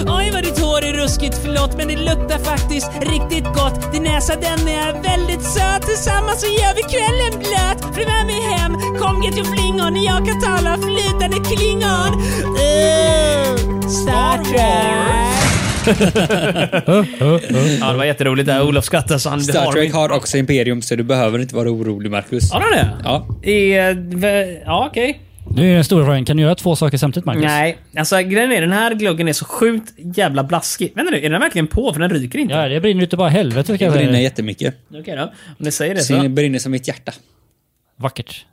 Speaker 8: Oj, vad ditt hår är ruskigt, förlåt, men det luktar faktiskt riktigt gott. Din näsa, den är väldigt söt. Tillsammans så gör vi kvällen blöt. Följ med mig hem, kom get your flingon. Jag kan tala flytande klingon. Uh, Star Trek.
Speaker 2: Ja, det var jätteroligt där. Olof skrattar så han
Speaker 4: Star Trek
Speaker 2: har...
Speaker 4: har också imperium så du behöver inte vara orolig Marcus.
Speaker 2: Har han det?
Speaker 4: Ja.
Speaker 2: Är- vä- Ja, okej.
Speaker 1: Nu är den stora frågan, kan du göra två saker samtidigt Marcus?
Speaker 2: Nej, alltså grejen är den här gluggen är så sjukt jävla blaskig. Vänta nu, är den verkligen på? För den ryker inte.
Speaker 1: Ja, det brinner ute bara helvete kan
Speaker 4: Det
Speaker 1: jag säga.
Speaker 4: brinner
Speaker 1: dig.
Speaker 4: jättemycket.
Speaker 2: Okej då. Om ni säger det
Speaker 4: Så det
Speaker 2: så.
Speaker 4: brinner som mitt hjärta.
Speaker 1: Vackert.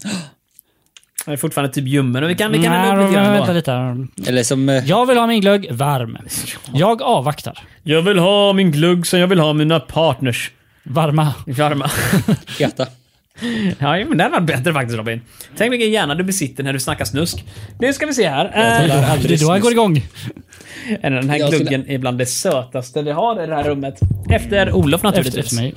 Speaker 2: Den är fortfarande typ ljummen och vi kan, vi kan
Speaker 1: Nej,
Speaker 2: elda upp lite
Speaker 1: men
Speaker 2: grann
Speaker 1: vänta
Speaker 2: då.
Speaker 1: lite.
Speaker 4: Eller som... eh,
Speaker 1: Jag vill ha min glögg varm. Jag avvaktar.
Speaker 2: Jag vill ha min glugg som jag vill ha mina partners.
Speaker 1: Varma.
Speaker 2: Varma.
Speaker 4: Hjärta.
Speaker 2: ja, men det här var bättre faktiskt Robin. Tänk vilken hjärna du besitter när du snackar snusk. Nu ska vi se här. Eh,
Speaker 4: gillar aldrig
Speaker 1: Det är då jag
Speaker 4: snus.
Speaker 1: går igång.
Speaker 2: den här
Speaker 4: Jag skulle-
Speaker 2: gluggen är bland det sötaste vi har i det här rummet. Efter Olof
Speaker 1: Efter,
Speaker 2: naturligtvis.
Speaker 1: efter mig.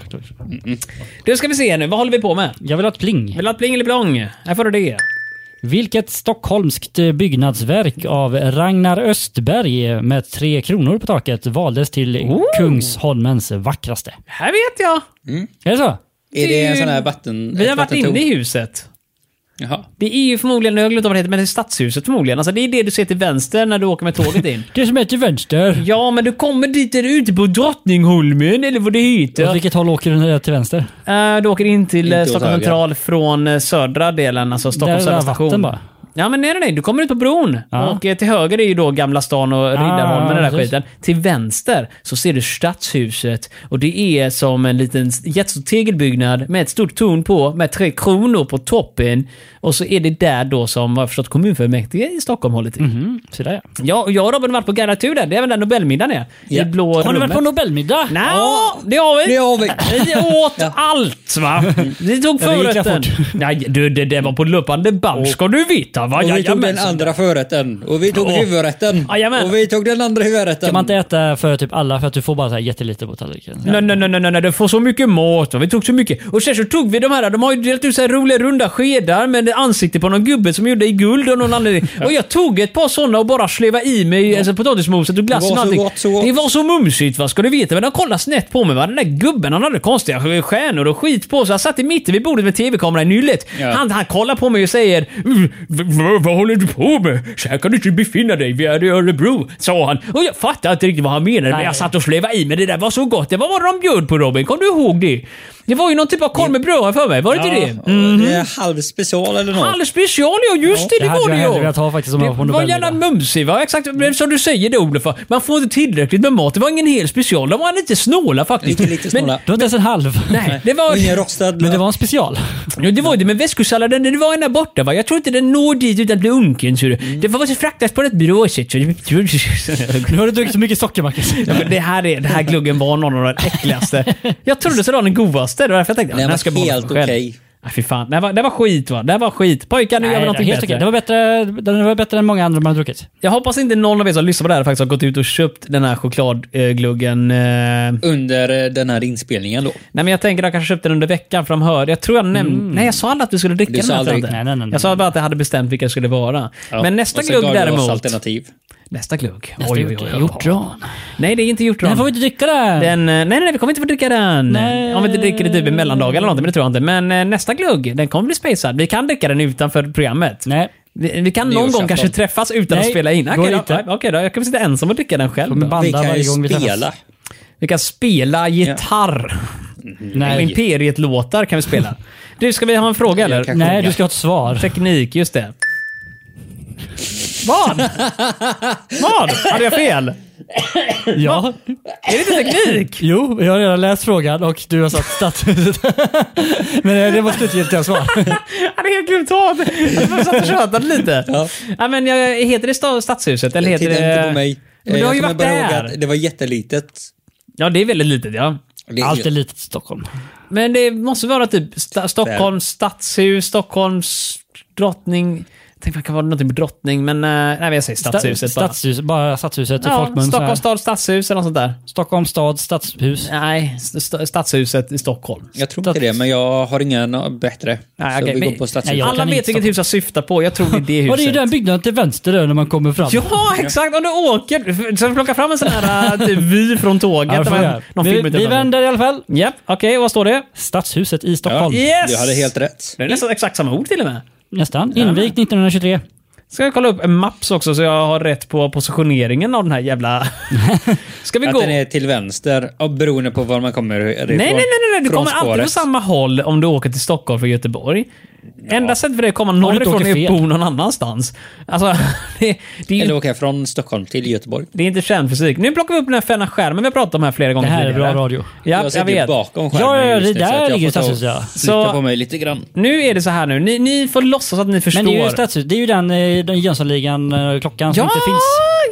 Speaker 2: Du ska vi se nu, vad håller vi på med?
Speaker 1: Jag vill ha ett pling.
Speaker 2: Vill du ha ett pling eller plong? Här får du det.
Speaker 1: Vilket stockholmskt byggnadsverk av Ragnar Östberg med tre kronor på taket valdes till Kungsholmens vackraste?
Speaker 2: Här vet jag.
Speaker 1: Är det så?
Speaker 4: Är det en sån här vatten...
Speaker 2: Vi
Speaker 4: ett
Speaker 2: har varit
Speaker 4: vattentorn?
Speaker 2: inne i huset.
Speaker 4: Jaha.
Speaker 2: Det är ju förmodligen, jag har glömt vad det heter, men det är stadshuset förmodligen. Alltså det är det du ser till vänster när du åker med tåget in.
Speaker 1: Det som är till vänster.
Speaker 2: ja, men du kommer dit där ute på Drottningholmen, eller vad det heter.
Speaker 1: Åt vilket håll åker den här till vänster?
Speaker 2: Eh, du åker in till eh,
Speaker 4: Inte åt
Speaker 2: Stockholm
Speaker 4: höger.
Speaker 2: central från eh, södra delen, alltså
Speaker 1: Där är
Speaker 2: Stockholms södra
Speaker 1: vatten
Speaker 2: station.
Speaker 1: bara.
Speaker 2: Ja men nej nej, nej, du kommer ut på bron.
Speaker 1: Ja. Ah,
Speaker 2: Och eh, till höger är ju då Gamla stan och Riddarholmen och den där
Speaker 1: precis.
Speaker 2: skiten. Till vänster så ser du Stadshuset. Och det är som en liten jättestor tegelbyggnad med ett stort torn på med tre kronor på toppen. Och så är det där då som, vad jag förstått, kommunfullmäktige i Stockholm håller till.
Speaker 1: Mm, så där ja.
Speaker 2: Ja, och jag och Robin har varit på Garatur där. Det är även där Nobelmiddagen är.
Speaker 4: Ja.
Speaker 2: I blå
Speaker 1: Har ni
Speaker 2: rummet.
Speaker 1: varit på Nobelmiddag?
Speaker 2: Nej, det har vi.
Speaker 4: Det har vi.
Speaker 2: Vi åt
Speaker 4: Ja. Mm.
Speaker 2: allt va. Vi tog
Speaker 1: Ja, det gick jag
Speaker 2: förrätten. Nej, du, det, det var på löpande band ska du veta va.
Speaker 4: Och vi tog den
Speaker 2: Jajamensan.
Speaker 4: andra förrätten. Och vi tog
Speaker 2: Åh.
Speaker 4: huvudrätten.
Speaker 2: Jajamän.
Speaker 4: Och vi tog den andra huvudrätten.
Speaker 1: Kan man inte äta för typ alla för att du får bara så här jättelite på tallriken?
Speaker 2: Nej, nej, nej, nej, nej, det får så mycket mat. va. Vi tog så mycket. Och sen så tog vi de här, de har ju delat ut så här roliga runda skedar med ansikte på någon gubbe som gjorde i guld och någon anledning. Och jag tog ett par sådana och bara sleva i mig alltså, potatismoset och glassen
Speaker 4: Det
Speaker 2: och
Speaker 4: var så
Speaker 2: allting.
Speaker 4: gott, så gott.
Speaker 2: Det var så mumsigt va, ska du veta. Men de kollade snett på mig va. Den där gubben han hade konstiga stjärnor och skit på sig. Han satt i mitten vid bordet med tv-kameran i nyllet.
Speaker 4: Ja.
Speaker 2: Han, han kollar på mig och säger "Mm, "V- v- Vad håller du på med? Så här kan du inte befinna dig. Vi är i Örebro, sa han. Och jag fattade inte riktigt vad han menade. Men
Speaker 1: Nej.
Speaker 2: jag satt och sleva i mig. Det där var så gott. Det var vad de bjöd på Robin. Kom du ihåg det? Det var ju någon typ av korv med bröd här för mig. Var det Mhm. inte det?
Speaker 4: Mm. Det är halvspecial eller något.
Speaker 2: Halv special ja, just det. Det
Speaker 1: Det hade
Speaker 2: var
Speaker 1: jag
Speaker 2: det
Speaker 1: hellre
Speaker 2: ja.
Speaker 1: velat ha faktiskt om
Speaker 2: Det
Speaker 1: jag Mm. var på
Speaker 2: var jävla
Speaker 1: Nobelmiddag.
Speaker 2: mumsig va? Exakt men som du säger det Olof. va? Man får inte tillräckligt med mat. Det var ingen hel special. De var lite snåla faktiskt.
Speaker 4: Lite, lite
Speaker 2: Men,
Speaker 4: snåla.
Speaker 1: Det var inte ens en halv.
Speaker 2: nej, det
Speaker 4: Och
Speaker 2: var...
Speaker 4: ingen rostad
Speaker 1: Men det var en special.
Speaker 2: Ja, det var ju det med väskosalladen. Det var en där borta va? Jag tror inte den når dit utan att bli unken. Så
Speaker 4: Mm.
Speaker 2: det. det var så fraktas på ett bra sätt. Så det...
Speaker 1: Nu har du druckit så mycket socker Marcus.
Speaker 2: Ja, men det, här är, det här gluggen var någon av de äckligaste. Jag trodde så det var den godaste. Det var därför jag tänkte att
Speaker 4: Den
Speaker 2: den här
Speaker 4: var
Speaker 2: ska jag behålla
Speaker 4: helt
Speaker 2: för mig själv.
Speaker 4: okej.
Speaker 2: Nej, fy fan. Det här, var, det här var skit va? Det här var skit. Pojkar, nu gör vi
Speaker 1: Nej,
Speaker 2: någonting
Speaker 1: helt
Speaker 2: bättre.
Speaker 1: okej. Det var bättre, det var bättre än många andra man har druckit.
Speaker 2: Jag hoppas inte någon av er som lyssnar på det här faktiskt har gått ut och köpt den här chokladgluggen. eh,
Speaker 4: Under eh, den här inspelningen då.
Speaker 2: Nej men jag tänker att jag kanske köpte den under veckan för de hörde. Jag tror jag nämnde... Nej jag sa aldrig att vi skulle dricka
Speaker 4: Du
Speaker 2: den
Speaker 4: sa
Speaker 2: här, tror jag
Speaker 4: aldrig-
Speaker 2: inte.
Speaker 1: Nej, nej, nej, nej.
Speaker 2: Jag sa bara att jag hade bestämt vilka det skulle vara.
Speaker 4: Ja.
Speaker 2: Men nästa
Speaker 4: Och så
Speaker 2: glugg
Speaker 4: gav du oss
Speaker 2: däremot...
Speaker 4: alternativ.
Speaker 2: Nästa glugg.
Speaker 1: Nästa
Speaker 2: Oj, oj, oj, oj.
Speaker 1: Hjortron.
Speaker 2: Nej det är inte hjortron.
Speaker 1: Den får vi inte dricka där.
Speaker 2: Den, eh, nej, nej, nej, vi kommer inte få dricka den.
Speaker 1: Nej.
Speaker 2: Om vi inte dricker det typ i mellandagar eller någonting, men det tror jag inte. Men eh, nästa glugg, den kommer bli spacad. Vi kan dricka den utanför programmet.
Speaker 1: Nej.
Speaker 2: Vi, vi kan någon gång
Speaker 4: Nyårsafton.
Speaker 2: kanske träffas utan att
Speaker 1: Nej,
Speaker 2: spela in. Okej
Speaker 1: går
Speaker 2: då,
Speaker 1: inte.
Speaker 2: nej, okej då, jag kan sitta ensam och dricka den själv.
Speaker 1: Kommer
Speaker 2: Då.
Speaker 1: banda
Speaker 4: Vi kan
Speaker 1: varje
Speaker 4: ju
Speaker 1: gång vi träffas.
Speaker 4: spela.
Speaker 2: Vi kan spela gitarr. Mm.
Speaker 1: Nej.
Speaker 2: Imperiet-låtar kan vi spela. Du, ska vi ha en fråga eller?
Speaker 4: Jag kan
Speaker 1: Nej,
Speaker 4: sjunga.
Speaker 1: du ska ha ett svar.
Speaker 2: Teknik, just det. Vad? Vad? Hade jag fel?
Speaker 1: Ja,
Speaker 2: Är det inte teknik?
Speaker 1: jo, jag har redan läst frågan och du har satt stadshuset. Men eh, det var slutgiltiga svar.
Speaker 2: Jag hade helt glömt ta det. Jag satt och tjötade lite. Ja. men jag, heter det sta- Stadshuset? Eller heter
Speaker 4: Titta
Speaker 2: det...
Speaker 4: inte på mig.
Speaker 2: Men
Speaker 4: Eh,
Speaker 2: du har
Speaker 4: jag
Speaker 2: ju
Speaker 4: kommer
Speaker 2: varit
Speaker 4: bara
Speaker 2: där.
Speaker 4: ihåg att Det var jättelitet.
Speaker 2: Ja, det är väldigt litet ja.
Speaker 4: Det,
Speaker 1: Allt är litet i Stockholm.
Speaker 2: Men det måste vara typ sta- Stockholms stadshus, Stockholms drottning... Jag tänkte att det kan vara någonting med drottning, men... eh, Nej, men jag säger stadshuset
Speaker 1: Sta- Stadshus, bara stadshuset i
Speaker 2: bara. Ja,
Speaker 1: folkmun. så här.
Speaker 2: Stockholms stads stadshus eller något sånt där.
Speaker 1: Stockholms stad, stadshus.
Speaker 2: Nej, st- st- stadshuset i Stockholm.
Speaker 4: jag tror inte det, men jag har ingen bättre.
Speaker 2: Nej,
Speaker 4: så
Speaker 2: okej,
Speaker 4: vi
Speaker 2: men-
Speaker 4: går på
Speaker 1: nej,
Speaker 4: stadshuset.
Speaker 1: jag-
Speaker 2: Alla
Speaker 1: kan
Speaker 2: vet
Speaker 1: inte
Speaker 2: vilket hus jag syftar på. Jag tror det är det huset.
Speaker 1: Och det är ju den byggnaden till vänster där när man kommer fram.
Speaker 2: Ja, exakt! Om du åker... Så plocka fram en sån här eh, typ, vy från tåget.
Speaker 1: Ja, vi
Speaker 2: där
Speaker 1: får
Speaker 2: man-
Speaker 1: göra.
Speaker 2: någon
Speaker 1: vi,
Speaker 2: film
Speaker 1: vi
Speaker 2: utifrån.
Speaker 1: vänder i alla fall.
Speaker 2: Japp, okej, vad står det?
Speaker 1: Stadshuset i Stockholm.
Speaker 2: Yes!
Speaker 4: Du hade helt rätt.
Speaker 2: Det är nästan exakt samma ord till och med.
Speaker 1: Nästan. Invigt 1923.
Speaker 2: Ska jag kolla upp en maps också så jag har rätt på positioneringen av den här jävla... Ska vi
Speaker 4: Att
Speaker 2: gå...
Speaker 4: den är till vänster, och beroende på var man kommer Nej,
Speaker 2: Nej, nej, nej, nej, nej. Du kommer alltid på samma håll om du åker till Stockholm från Göteborg. Enda sättet för dig att komma
Speaker 1: inte
Speaker 2: norrifrån
Speaker 1: åker
Speaker 2: är att
Speaker 1: fel.
Speaker 2: bo någon annanstans. Alltså, det, det, är
Speaker 4: Eller
Speaker 2: ju,
Speaker 4: åka från Stockholm till Göteborg.
Speaker 2: det är inte kärnfysik. Nu plockar vi upp den här fäna skärmen vi har pratat om här flera
Speaker 1: Det
Speaker 2: gånger
Speaker 1: här är bra
Speaker 2: tidigare.
Speaker 1: radio.
Speaker 2: Ja, jag,
Speaker 4: jag sitter
Speaker 2: vet.
Speaker 4: bakom
Speaker 1: Ja, ja,
Speaker 4: skärmen
Speaker 1: det
Speaker 4: just nu, så
Speaker 1: där
Speaker 4: att jag
Speaker 1: ligger
Speaker 4: får ta och
Speaker 1: stadshuset, ja.
Speaker 4: Flytta
Speaker 2: Så-
Speaker 4: på mig lite grann.
Speaker 2: Nu är det så här nu. Ni, ni får låtsas att ni förstår.
Speaker 1: Men det är ju stadshus. Det är ju den, eh, den Jönssonligan-klockan som
Speaker 2: ja,
Speaker 1: inte finns.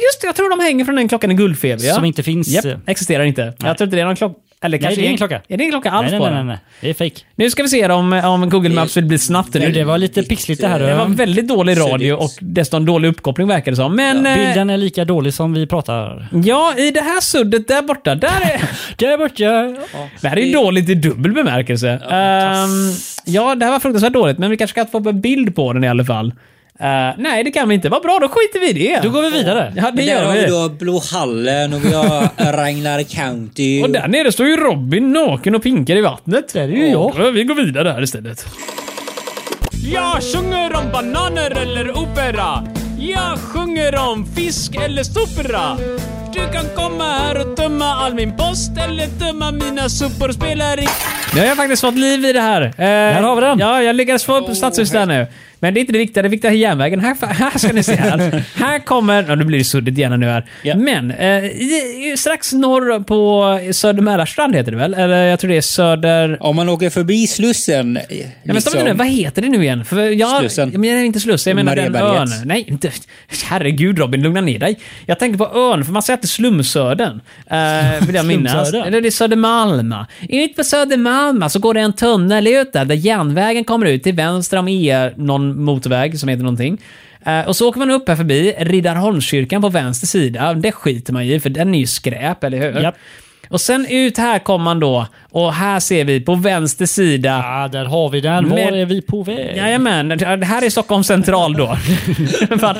Speaker 2: just det. Jag tror de hänger från den klockan i Guldfeber. Ja.
Speaker 1: Som inte finns.
Speaker 2: Japp, existerar inte. Jag tror inte det är någon klocka. Eller
Speaker 1: Nej,
Speaker 2: kanske
Speaker 1: det är ingen klocka.
Speaker 2: Är det ingen klocka alls
Speaker 1: Nej, nej,
Speaker 2: på
Speaker 1: nej,
Speaker 2: den?
Speaker 1: nej, nej. Det är fake.
Speaker 2: Nu ska vi se om, om Google Maps vill bli snabbt nu.
Speaker 1: Du, det
Speaker 2: Det
Speaker 1: var lite pixligt det här.
Speaker 2: var
Speaker 1: eh.
Speaker 2: väldigt dålig radio och dessutom dålig uppkoppling verkar det som. Men ja.
Speaker 1: Bilden är lika dålig som vi pratar.
Speaker 2: ja, i det här suddet där borta, där är...
Speaker 1: Där borta!
Speaker 2: det här är ju dåligt i dubbel bemärkelse. Ehm, ja, det här var fruktansvärt dåligt, men vi kanske kan få upp en bild på den i alla fall. Eh, nej, det kan vi inte. Vad bra, då skiter vi i det.
Speaker 1: Då går vi vidare.
Speaker 2: Ja, det
Speaker 4: Men där
Speaker 2: gör
Speaker 4: har vi
Speaker 2: vi.
Speaker 4: då Blåhallen och vi har Ragnar County.
Speaker 2: Och där nere står ju Robin naken och pinkar i vattnet. Det är
Speaker 1: ju jag.
Speaker 2: Vi går vidare här istället. Jag sjunger om bananer eller opera. Jag sjunger om fisk eller sopera. Du kan komma här och tömma all min post eller tömma mina sopor. Spelar i... Nu har jag faktiskt fått liv i det här. Eh, där
Speaker 1: har vi den.
Speaker 2: Ja, jag lyckades få upp stadshuset där nu. Men det är inte det viktiga. Det viktiga är järnvägen. Här, här ska ni se här. här kommer... Ja, nu blir det suddigt gärna nu här.
Speaker 4: Ja.
Speaker 2: Men eh, i- i- strax norr på Söder Mälarstrand heter det väl? Eller jag tror det är Söder...
Speaker 4: Om man åker förbi Slussen. eh,
Speaker 2: Ja, men stopp
Speaker 1: Liksom
Speaker 2: lite nu, vad heter det nu igen? För jag,
Speaker 4: Slussen.
Speaker 2: Jag menar inte Slussen, jag menar den ön.
Speaker 4: Mariaberget.
Speaker 2: Nej, inte... Herregud Robin, lugna ner dig. Jag tänker på ön, för man säger alltid Slumsödern. eh, vill jag minnas.
Speaker 1: Slumsödern?
Speaker 2: Eller det är Södermalm. Ut på Södermalm så går det en tunnel ut där, där järnvägen kommer ut till vänster om E, någon motorväg som heter någonting. Eh, och så åker man upp här förbi Riddarholmskyrkan på vänster sida. Det skiter man i, för den är ju skräp, eller hur?
Speaker 1: Japp.
Speaker 2: Och sen ut här kommer man då, och här ser vi på vänster sida
Speaker 1: Ja, där har vi den. Var
Speaker 2: Men-
Speaker 1: är vi på väg?
Speaker 2: Jajamän, det här är Stockholm central då. Fan.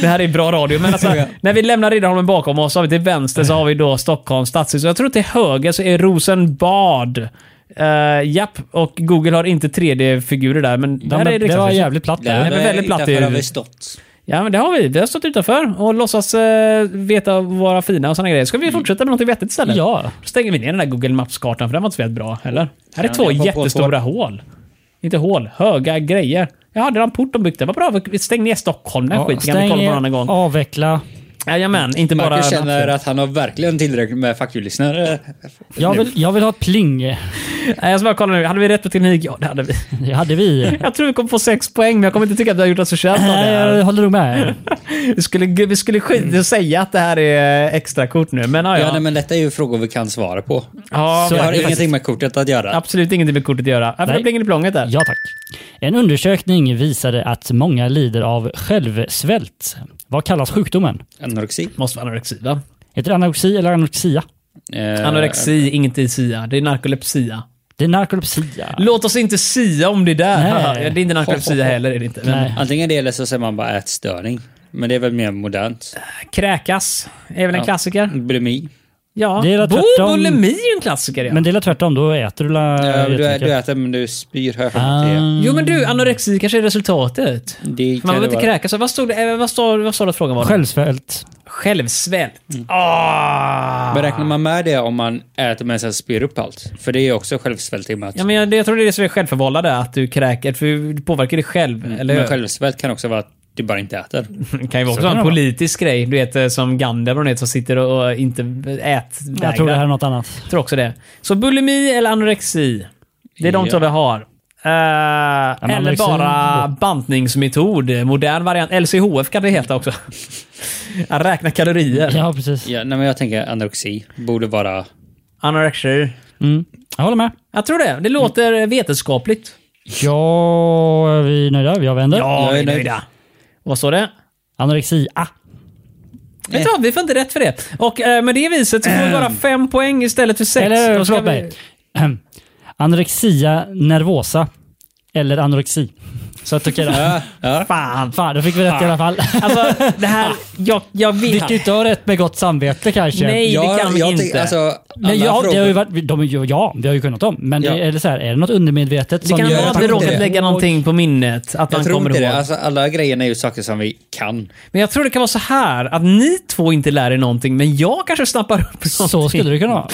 Speaker 2: det här är bra radio, men alltså, när vi lämnar Riddarholmen bakom oss så har vi till vänster så har vi då Stockholms stadshus. Och Jag tror till höger så är Rosenbad. Eh, japp, och Google har inte 3D-figurer där, men
Speaker 1: Ja,
Speaker 2: där
Speaker 1: men
Speaker 2: är
Speaker 1: det var
Speaker 2: riksdagshuset.
Speaker 1: jävligt platt
Speaker 4: Där
Speaker 1: där.
Speaker 2: men väldigt platt är-
Speaker 4: utanför har vi stått.
Speaker 2: Ja, men det har vi. Vi har stått utanför och låtsas eh, veta vara fina och sådana grejer. Ska vi
Speaker 4: Mm.
Speaker 2: fortsätta med något vettigt istället?
Speaker 1: Ja.
Speaker 2: Då stänger vi ner den där Google Maps-kartan, för den var inte så jävligt bra heller. Här är
Speaker 4: Ja,
Speaker 2: två
Speaker 4: jag hoppar på
Speaker 2: jättestora hål. Inte hål, höga grejer. Jaha, det var en port de byggde. Vad bra, vi- stäng ner Stockholm. Den
Speaker 1: Ja,
Speaker 2: skiten kan vi
Speaker 1: stäng
Speaker 2: kolla på
Speaker 1: ner,
Speaker 2: en annan gång.
Speaker 1: avveckla.
Speaker 2: Jajamän, inte bara...
Speaker 4: Marcus känner att han har verkligen tillräckligt med fackjullyssnare.
Speaker 1: Jag vill, jag vill ha ett pling.
Speaker 2: Nej, jag ska bara kolla nu. Hade vi rätt på teknik? Ja, det hade vi.
Speaker 1: Det hade vi.
Speaker 2: Jag tror vi kommer få sex poäng, men jag kommer inte tycka att vi har gjort oss förtjänta av det
Speaker 1: Nej,
Speaker 2: här.
Speaker 1: jag håller nog med.
Speaker 2: Vi skulle, vi skulle skita och säga att det här är extra kort nu, men ja,
Speaker 4: Mm. Ja,
Speaker 2: ja.
Speaker 4: nej, men detta är ju frågor vi kan svara på.
Speaker 2: ja
Speaker 4: Det
Speaker 1: Så-
Speaker 4: har
Speaker 1: faktiskt.
Speaker 4: ingenting med kortet att göra.
Speaker 2: Absolut ingenting med kortet att göra. Varför
Speaker 1: Nej.
Speaker 2: det plingar i plånget där?
Speaker 1: Ja tack. En undersökning visade att många lider av självsvält. Vad kallas sjukdomen?
Speaker 4: Anorexi.
Speaker 2: Måste vara anorexi va?
Speaker 1: Heter det anorexi eller anorexia?
Speaker 4: Eh,
Speaker 2: Anorexi, inget sia. Det är narkolepsia.
Speaker 1: Det är narkolepsia.
Speaker 2: Låt oss inte sia om det där.
Speaker 1: Nej.
Speaker 2: Ja, Det är inte narkolepsia heller. Är det inte. Men
Speaker 1: Nej.
Speaker 4: Antingen det eller så säger man bara ätstörning. Men det är väl mer modernt.
Speaker 2: Kräkas är väl en
Speaker 4: Ja.
Speaker 2: klassiker?
Speaker 4: Bulimi.
Speaker 2: Ja.
Speaker 1: Det är väl
Speaker 2: Bo,
Speaker 1: tvärtom.
Speaker 2: bulimi är ju en klassiker ja.
Speaker 1: Men det är tvärtom, då äter du la,
Speaker 4: Eh, du,
Speaker 1: jättemycket.
Speaker 4: du äter men du spyr här
Speaker 1: Ah.
Speaker 4: ah,
Speaker 2: Jo men du, anorexi kanske är resultatet?
Speaker 4: det.
Speaker 2: För man
Speaker 4: kan
Speaker 2: vill
Speaker 4: det
Speaker 2: inte
Speaker 4: vara.
Speaker 2: kräkas. Vad stod det? eh, Vad stod, vad stod det att frågan var?
Speaker 1: Självsvält.
Speaker 2: Självsvält. Ah.
Speaker 4: Men räknar man med det om man äter men sen spyr upp allt? För det är ju också självsvält i och med att...
Speaker 2: Ja, Mm. men jag, det- jag tror det är det som är självförvållande, att du kräker. För du påverkar dig själv, eller
Speaker 4: men
Speaker 2: hur?
Speaker 4: självsvält kan också vara att du bara inte äter.
Speaker 2: Det kan ju vara också
Speaker 1: kan
Speaker 2: en
Speaker 1: det vara.
Speaker 2: politisk grej. Du vet eh, som Gandalf och de heter, som sitter och och inte ätvägrar.
Speaker 1: Jag tror det här är något annat.
Speaker 2: tror också det. Så bulimi eller anorexi. Det är de
Speaker 4: Ja.
Speaker 2: två vi har. Eh, eller
Speaker 1: anorexi-
Speaker 2: bara bantningsmetod. Modern variant. LCHF kan det heta också. Att räkna kalorier.
Speaker 1: Ja, precis.
Speaker 4: Ja, nej, men jag tänker anorexi borde vara...
Speaker 2: Anorexi.
Speaker 1: Mm. Jag håller med.
Speaker 2: Jag tror det. Det låter vetenskapligt.
Speaker 1: Ja, är vi nöjda? Jag Eh. vänder.
Speaker 2: Ja,
Speaker 4: Jag
Speaker 2: vi
Speaker 4: är
Speaker 2: är
Speaker 4: nöjd.
Speaker 2: nöjda. Vad står det?
Speaker 1: Anorexi. Ah.
Speaker 2: Jag tror att vi får inte rätt för det. Och eh, med det viset så får vi bara fem poäng istället för sex.
Speaker 1: Eh. Eller
Speaker 2: Då ska
Speaker 1: förlåt
Speaker 2: vi-
Speaker 1: mig. Ahem. Anorexia nervosa. Eller anorexi. Så att okej då.
Speaker 4: Ja, ja.
Speaker 1: Fan. Fan, då fick vi rätt i alla fall.
Speaker 2: Alltså, det här... Jag, jag vet...
Speaker 1: Vi kan ju inte ha rätt med gott samvete kanske.
Speaker 2: Nej,
Speaker 4: jag,
Speaker 2: det kan vi
Speaker 4: jag tänker-
Speaker 2: inte.
Speaker 4: Alltså, alla
Speaker 1: Nej, ja, det har ju
Speaker 4: frågor-
Speaker 1: varit, de, är ju- ja, vi har ju kunnat dem. Men
Speaker 4: Ja.
Speaker 1: det, eller så här, är det något undermedvetet
Speaker 2: det
Speaker 1: som
Speaker 2: kan
Speaker 1: gör
Speaker 2: vara
Speaker 1: att
Speaker 2: att
Speaker 1: man
Speaker 2: vi
Speaker 4: tror
Speaker 2: råkat
Speaker 1: inte-
Speaker 4: det.
Speaker 2: lägga någonting på minnet. Att man
Speaker 4: jag tror
Speaker 2: kommer
Speaker 4: inte
Speaker 2: ihåg.
Speaker 4: det. Alltså, alla grejerna är ju saker som vi kan.
Speaker 2: Men jag tror det kan vara så här att ni två inte lär er någonting, men jag kanske snappar upp någonting.
Speaker 1: Så skulle det kunna vara.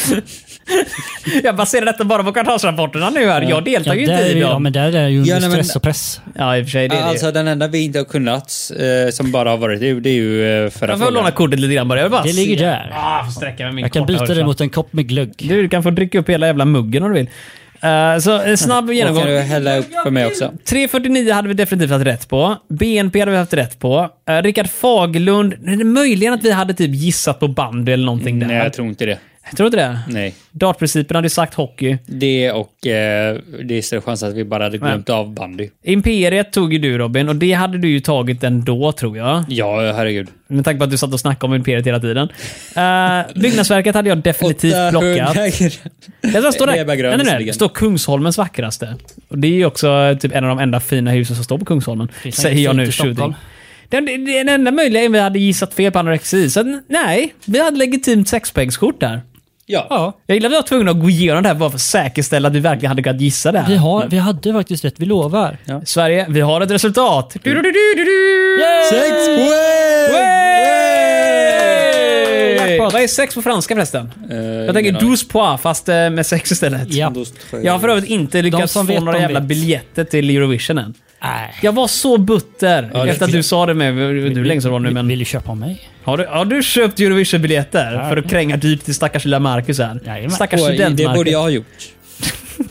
Speaker 2: Jag baserar detta bara på kvartalsrapporterna nu här. Jag deltar
Speaker 1: Ja,
Speaker 2: ju inte
Speaker 1: där, är
Speaker 2: i
Speaker 1: ju- ja,
Speaker 2: dem.
Speaker 1: men där är ju
Speaker 4: Ja,
Speaker 1: under
Speaker 4: nej, men-
Speaker 1: stress och press.
Speaker 2: Ja, i och för sig. Det är
Speaker 4: alltså
Speaker 2: det.
Speaker 4: den enda vi inte har kunnat, eh, som bara har varit du, det är ju eh, förra
Speaker 2: Jag får låna kortet lite grann bara. Jag vill bara
Speaker 1: Det ligger
Speaker 2: se.
Speaker 1: där.
Speaker 2: Ah, jag får sträcka mig med min
Speaker 1: Jag kan
Speaker 2: korta
Speaker 1: byta det
Speaker 2: hörsel.
Speaker 1: mot en kopp med glögg.
Speaker 2: Du kan få dricka upp hela jävla muggen om du vill. Eh, så en snabb
Speaker 4: Och
Speaker 2: genomgång.
Speaker 4: kan du hälla upp för mig också?
Speaker 2: 349 hade vi definitivt haft rätt på. BNP hade vi haft rätt på. Eh, Rickard Faglund. är det Möjligen att vi hade typ gissat på bandy eller någonting där.
Speaker 1: Mm,
Speaker 4: Nej, jag tror inte det.
Speaker 2: Tror du inte det?
Speaker 4: Nej.
Speaker 2: Dartprincipen hade ju sagt hockey.
Speaker 4: Det och eh, det är större chans att vi bara hade glömt av bandy.
Speaker 2: Imperiet tog ju du Robin och det hade du ju tagit ändå tror jag.
Speaker 4: Ja, herregud.
Speaker 2: Med tanke på att du satt och snackade om Imperiet hela tiden. Eh, byggnadsverket hade jag definitivt plockat. Jag tror det står
Speaker 4: Det är bara
Speaker 2: där.
Speaker 4: grön
Speaker 2: Nej, nej, nej, det
Speaker 4: visserligen.
Speaker 2: står Kungsholmens vackraste. Och det är ju också eh, typ en av de enda fina husen som står på Kungsholmen.
Speaker 1: Finns
Speaker 2: Säger
Speaker 1: inget
Speaker 2: jag
Speaker 1: fint
Speaker 2: nu
Speaker 1: i Stockholm?
Speaker 2: tjuting. Den, den enda möjliga är att vi hade gissat fel på anorexi. Så att, nej, vi hade legitimt sexpoängskort där.
Speaker 4: Ja.
Speaker 1: Ja.
Speaker 2: Jag gillar att vi var tvungna att gå igenom det här bara för att säkerställa att vi verkligen hade kunnat gissa det här.
Speaker 1: Vi, har, vi hade faktiskt rätt, vi lovar.
Speaker 2: Sverige, vi har ett resultat. Du, du, du, du, du, du.
Speaker 4: Sex
Speaker 2: Yay! Vad är sex på franska förresten?
Speaker 4: Eh,
Speaker 2: Jag tänker douze pois fast eh, med sex istället.
Speaker 1: Ja.
Speaker 2: Jag har för övrigt inte lyckats få
Speaker 1: som vet,
Speaker 2: några
Speaker 1: de
Speaker 2: jävla
Speaker 1: vet.
Speaker 2: biljetter till Eurovision än.
Speaker 1: Nej.
Speaker 2: Jag var så butter
Speaker 4: det-
Speaker 2: efter att du sa det med du länge sedan var nu men...
Speaker 1: Vill du köpa av mig?
Speaker 2: Har du, har du köpt Eurovision-biljetter
Speaker 1: Ja.
Speaker 2: för att kränga dyrt till stackars lilla Marcus här?
Speaker 1: Jajamän.
Speaker 2: Stackars
Speaker 4: Oj, det borde
Speaker 2: student-Marcus.
Speaker 4: jag ha gjort.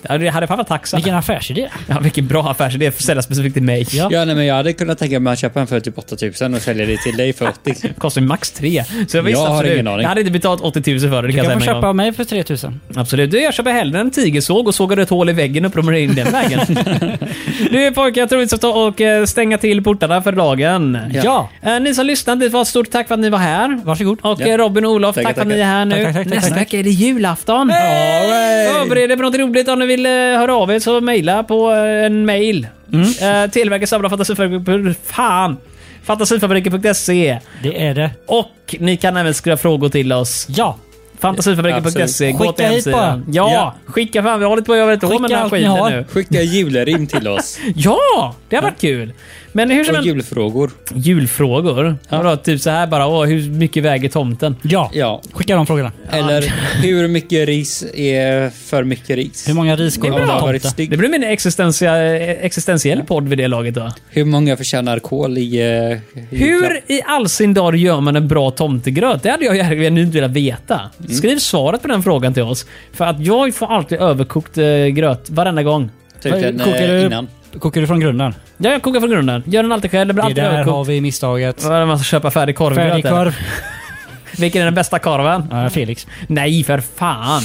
Speaker 2: Ja, det hade fan varit tacksam.
Speaker 1: Vilken affärsidé.
Speaker 2: Ja, vilken bra affärsidé. För att sälja specifikt till mig.
Speaker 1: Ja.
Speaker 4: Ja, nej, men jag hade kunnat tänka mig att köpa en för typ 8000 och sälja det till dig för 80.
Speaker 2: Kostar ju max tre. Så jag, visste
Speaker 4: Jag har
Speaker 2: absolut.
Speaker 4: ingen aning.
Speaker 2: Jag hade inte betalat 80 000 för det. det
Speaker 1: Du
Speaker 2: kan
Speaker 1: kan
Speaker 2: jag
Speaker 1: få
Speaker 2: säga med en
Speaker 1: köpa
Speaker 2: gång.
Speaker 1: av mig för 3000.
Speaker 2: Absolut. Du, jag köper hellre en tigersåg och sågar ett hål i väggen och promenerar in den vägen. du pojkar, jag tror vi ska ta och eh, stänga till portarna för dagen.
Speaker 1: Ja.
Speaker 2: Eh, Ni som lyssnade, det var ett stort tack för att ni var här.
Speaker 1: Varsågod.
Speaker 2: Och
Speaker 4: Ja.
Speaker 2: eh, Robin och Olof, tack,
Speaker 4: Tackar,
Speaker 2: för att ni är
Speaker 4: tackar.
Speaker 2: här nu.
Speaker 1: Tack, tack, tack,
Speaker 2: Nästa
Speaker 1: tack.
Speaker 2: vecka är det julafton. Förbered er på något roligt. Om ni vill eh, höra av er så mejla på eh, en mejl. Mm. Televerket samlar fantasifabriken... Fan! Fantasifabriken.se.
Speaker 1: Det är det.
Speaker 2: Och ni kan även skriva frågor till oss.
Speaker 1: Ja.
Speaker 2: Fantasifabriken.se.
Speaker 1: Absolut.
Speaker 2: Gå
Speaker 1: Skicka
Speaker 2: till
Speaker 1: hit
Speaker 2: hemsidan.
Speaker 1: bara.
Speaker 2: Ja,
Speaker 1: Ja.
Speaker 2: skicka fan. Vi har lite på att göra lite av med den
Speaker 1: Skicka
Speaker 2: här
Speaker 1: allt ni
Speaker 2: skiten
Speaker 1: har.
Speaker 2: nu.
Speaker 4: Skicka julrim till oss
Speaker 2: Ja, det har varit kul. Men hur som
Speaker 4: och
Speaker 2: helst.
Speaker 4: julfrågor.
Speaker 2: Julfrågor. Vadå, typ så här bara. Åh, hur mycket väger tomten?
Speaker 1: Ja.
Speaker 4: Ja.
Speaker 1: Skicka de frågorna.
Speaker 4: Eller hur mycket ris är för mycket ris?
Speaker 1: Hur många
Speaker 4: Om
Speaker 1: riskorvar
Speaker 4: det har
Speaker 1: har
Speaker 4: varit
Speaker 1: tomte?
Speaker 2: Det
Speaker 4: stygg.
Speaker 2: blir min existentia, existentiell podd vid det laget då.
Speaker 4: Hur många förtjänar kol i... eh, julklapp?
Speaker 2: Hur i all sin dar gör man en bra tomtegröt? Det hade jag verkligen inte velat veta. Skriv svaret på den frågan till oss. För att jag får alltid överkokt eh, gröt varenda gång.
Speaker 4: Typ en,
Speaker 1: Kokar
Speaker 4: eh,
Speaker 1: du-
Speaker 4: innan.
Speaker 1: Kokar du från grunden?
Speaker 2: Ja, jag kokar från grunden. Gör den alltid själv. Det blir
Speaker 1: Det
Speaker 2: alltid
Speaker 1: där har
Speaker 2: överkokt.
Speaker 1: vi misstaget.
Speaker 2: Vad är det Man ska köpa färdig korvgröt. eller?
Speaker 1: Färdigkorv.
Speaker 2: Vilken är den bästa korven?
Speaker 1: Ja, Felix.
Speaker 2: Nej, för fan.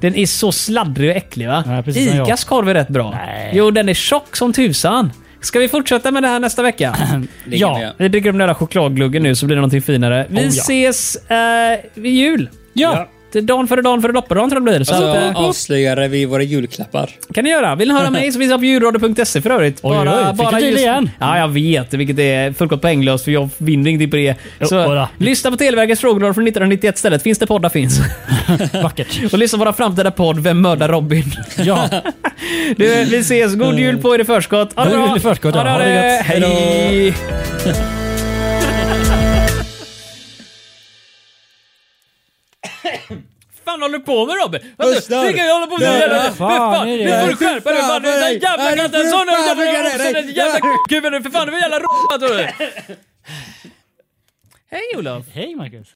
Speaker 2: Den är så sladdrig och äcklig va?
Speaker 1: Ja, precis som jag.
Speaker 2: Icas korv är rätt bra.
Speaker 1: Nej.
Speaker 2: Jo, den är tjock som tusan. Ska vi fortsätta med det här nästa vecka?
Speaker 4: Ligger
Speaker 2: ja,
Speaker 4: med.
Speaker 2: vi dricker upp den där chokladgluggen nu så blir det någonting finare. Vi
Speaker 1: Oh, ja.
Speaker 2: ses eh, vid jul.
Speaker 1: Ja.
Speaker 2: Det är dagen före dagen före loppedagen tror jag det blir. Så
Speaker 4: Alltså,
Speaker 2: att, eh,
Speaker 4: avslöjar vi våra julklappar?
Speaker 2: kan ni göra. Vill ni höra mig så finns jag på djurradio.se för övrigt.
Speaker 1: Oj, oj, fick du till igen?
Speaker 2: Ja, jag vet. Vilket är fullkomligt poänglöst för jag vinner ingenting på det.
Speaker 1: Jo,
Speaker 2: Så
Speaker 1: bara.
Speaker 2: lyssna på Televerkets frågelåda från 1991 stället. Finns det poddar finns.
Speaker 1: Vackert.
Speaker 2: Och lyssna på vår framtida podd Vem mördar Robin?
Speaker 1: Ja.
Speaker 2: Du, vi ses. God jul på er i förskott. Ha det
Speaker 1: God
Speaker 2: bra.
Speaker 1: jul i förskott, ja.
Speaker 2: Ha
Speaker 1: Ha det
Speaker 2: det.
Speaker 1: gött.
Speaker 2: Hej! Fan fan håller du på med Robin? Vad
Speaker 4: Östar!
Speaker 2: du kan jag hålla på med?
Speaker 4: Nej,
Speaker 2: Jävla,
Speaker 4: vad
Speaker 2: för fan,
Speaker 1: fan är det?
Speaker 2: nu får du skärpa dig! fan. Den där
Speaker 4: Nej,
Speaker 2: jävla
Speaker 4: nej,
Speaker 2: katten
Speaker 4: för
Speaker 2: sa nu!
Speaker 4: fan,
Speaker 2: Jävla
Speaker 4: fucka dig.
Speaker 2: jävla jävla kuken! För fan, det var jävla råtta! Hej Olof!
Speaker 1: Hej Marcus.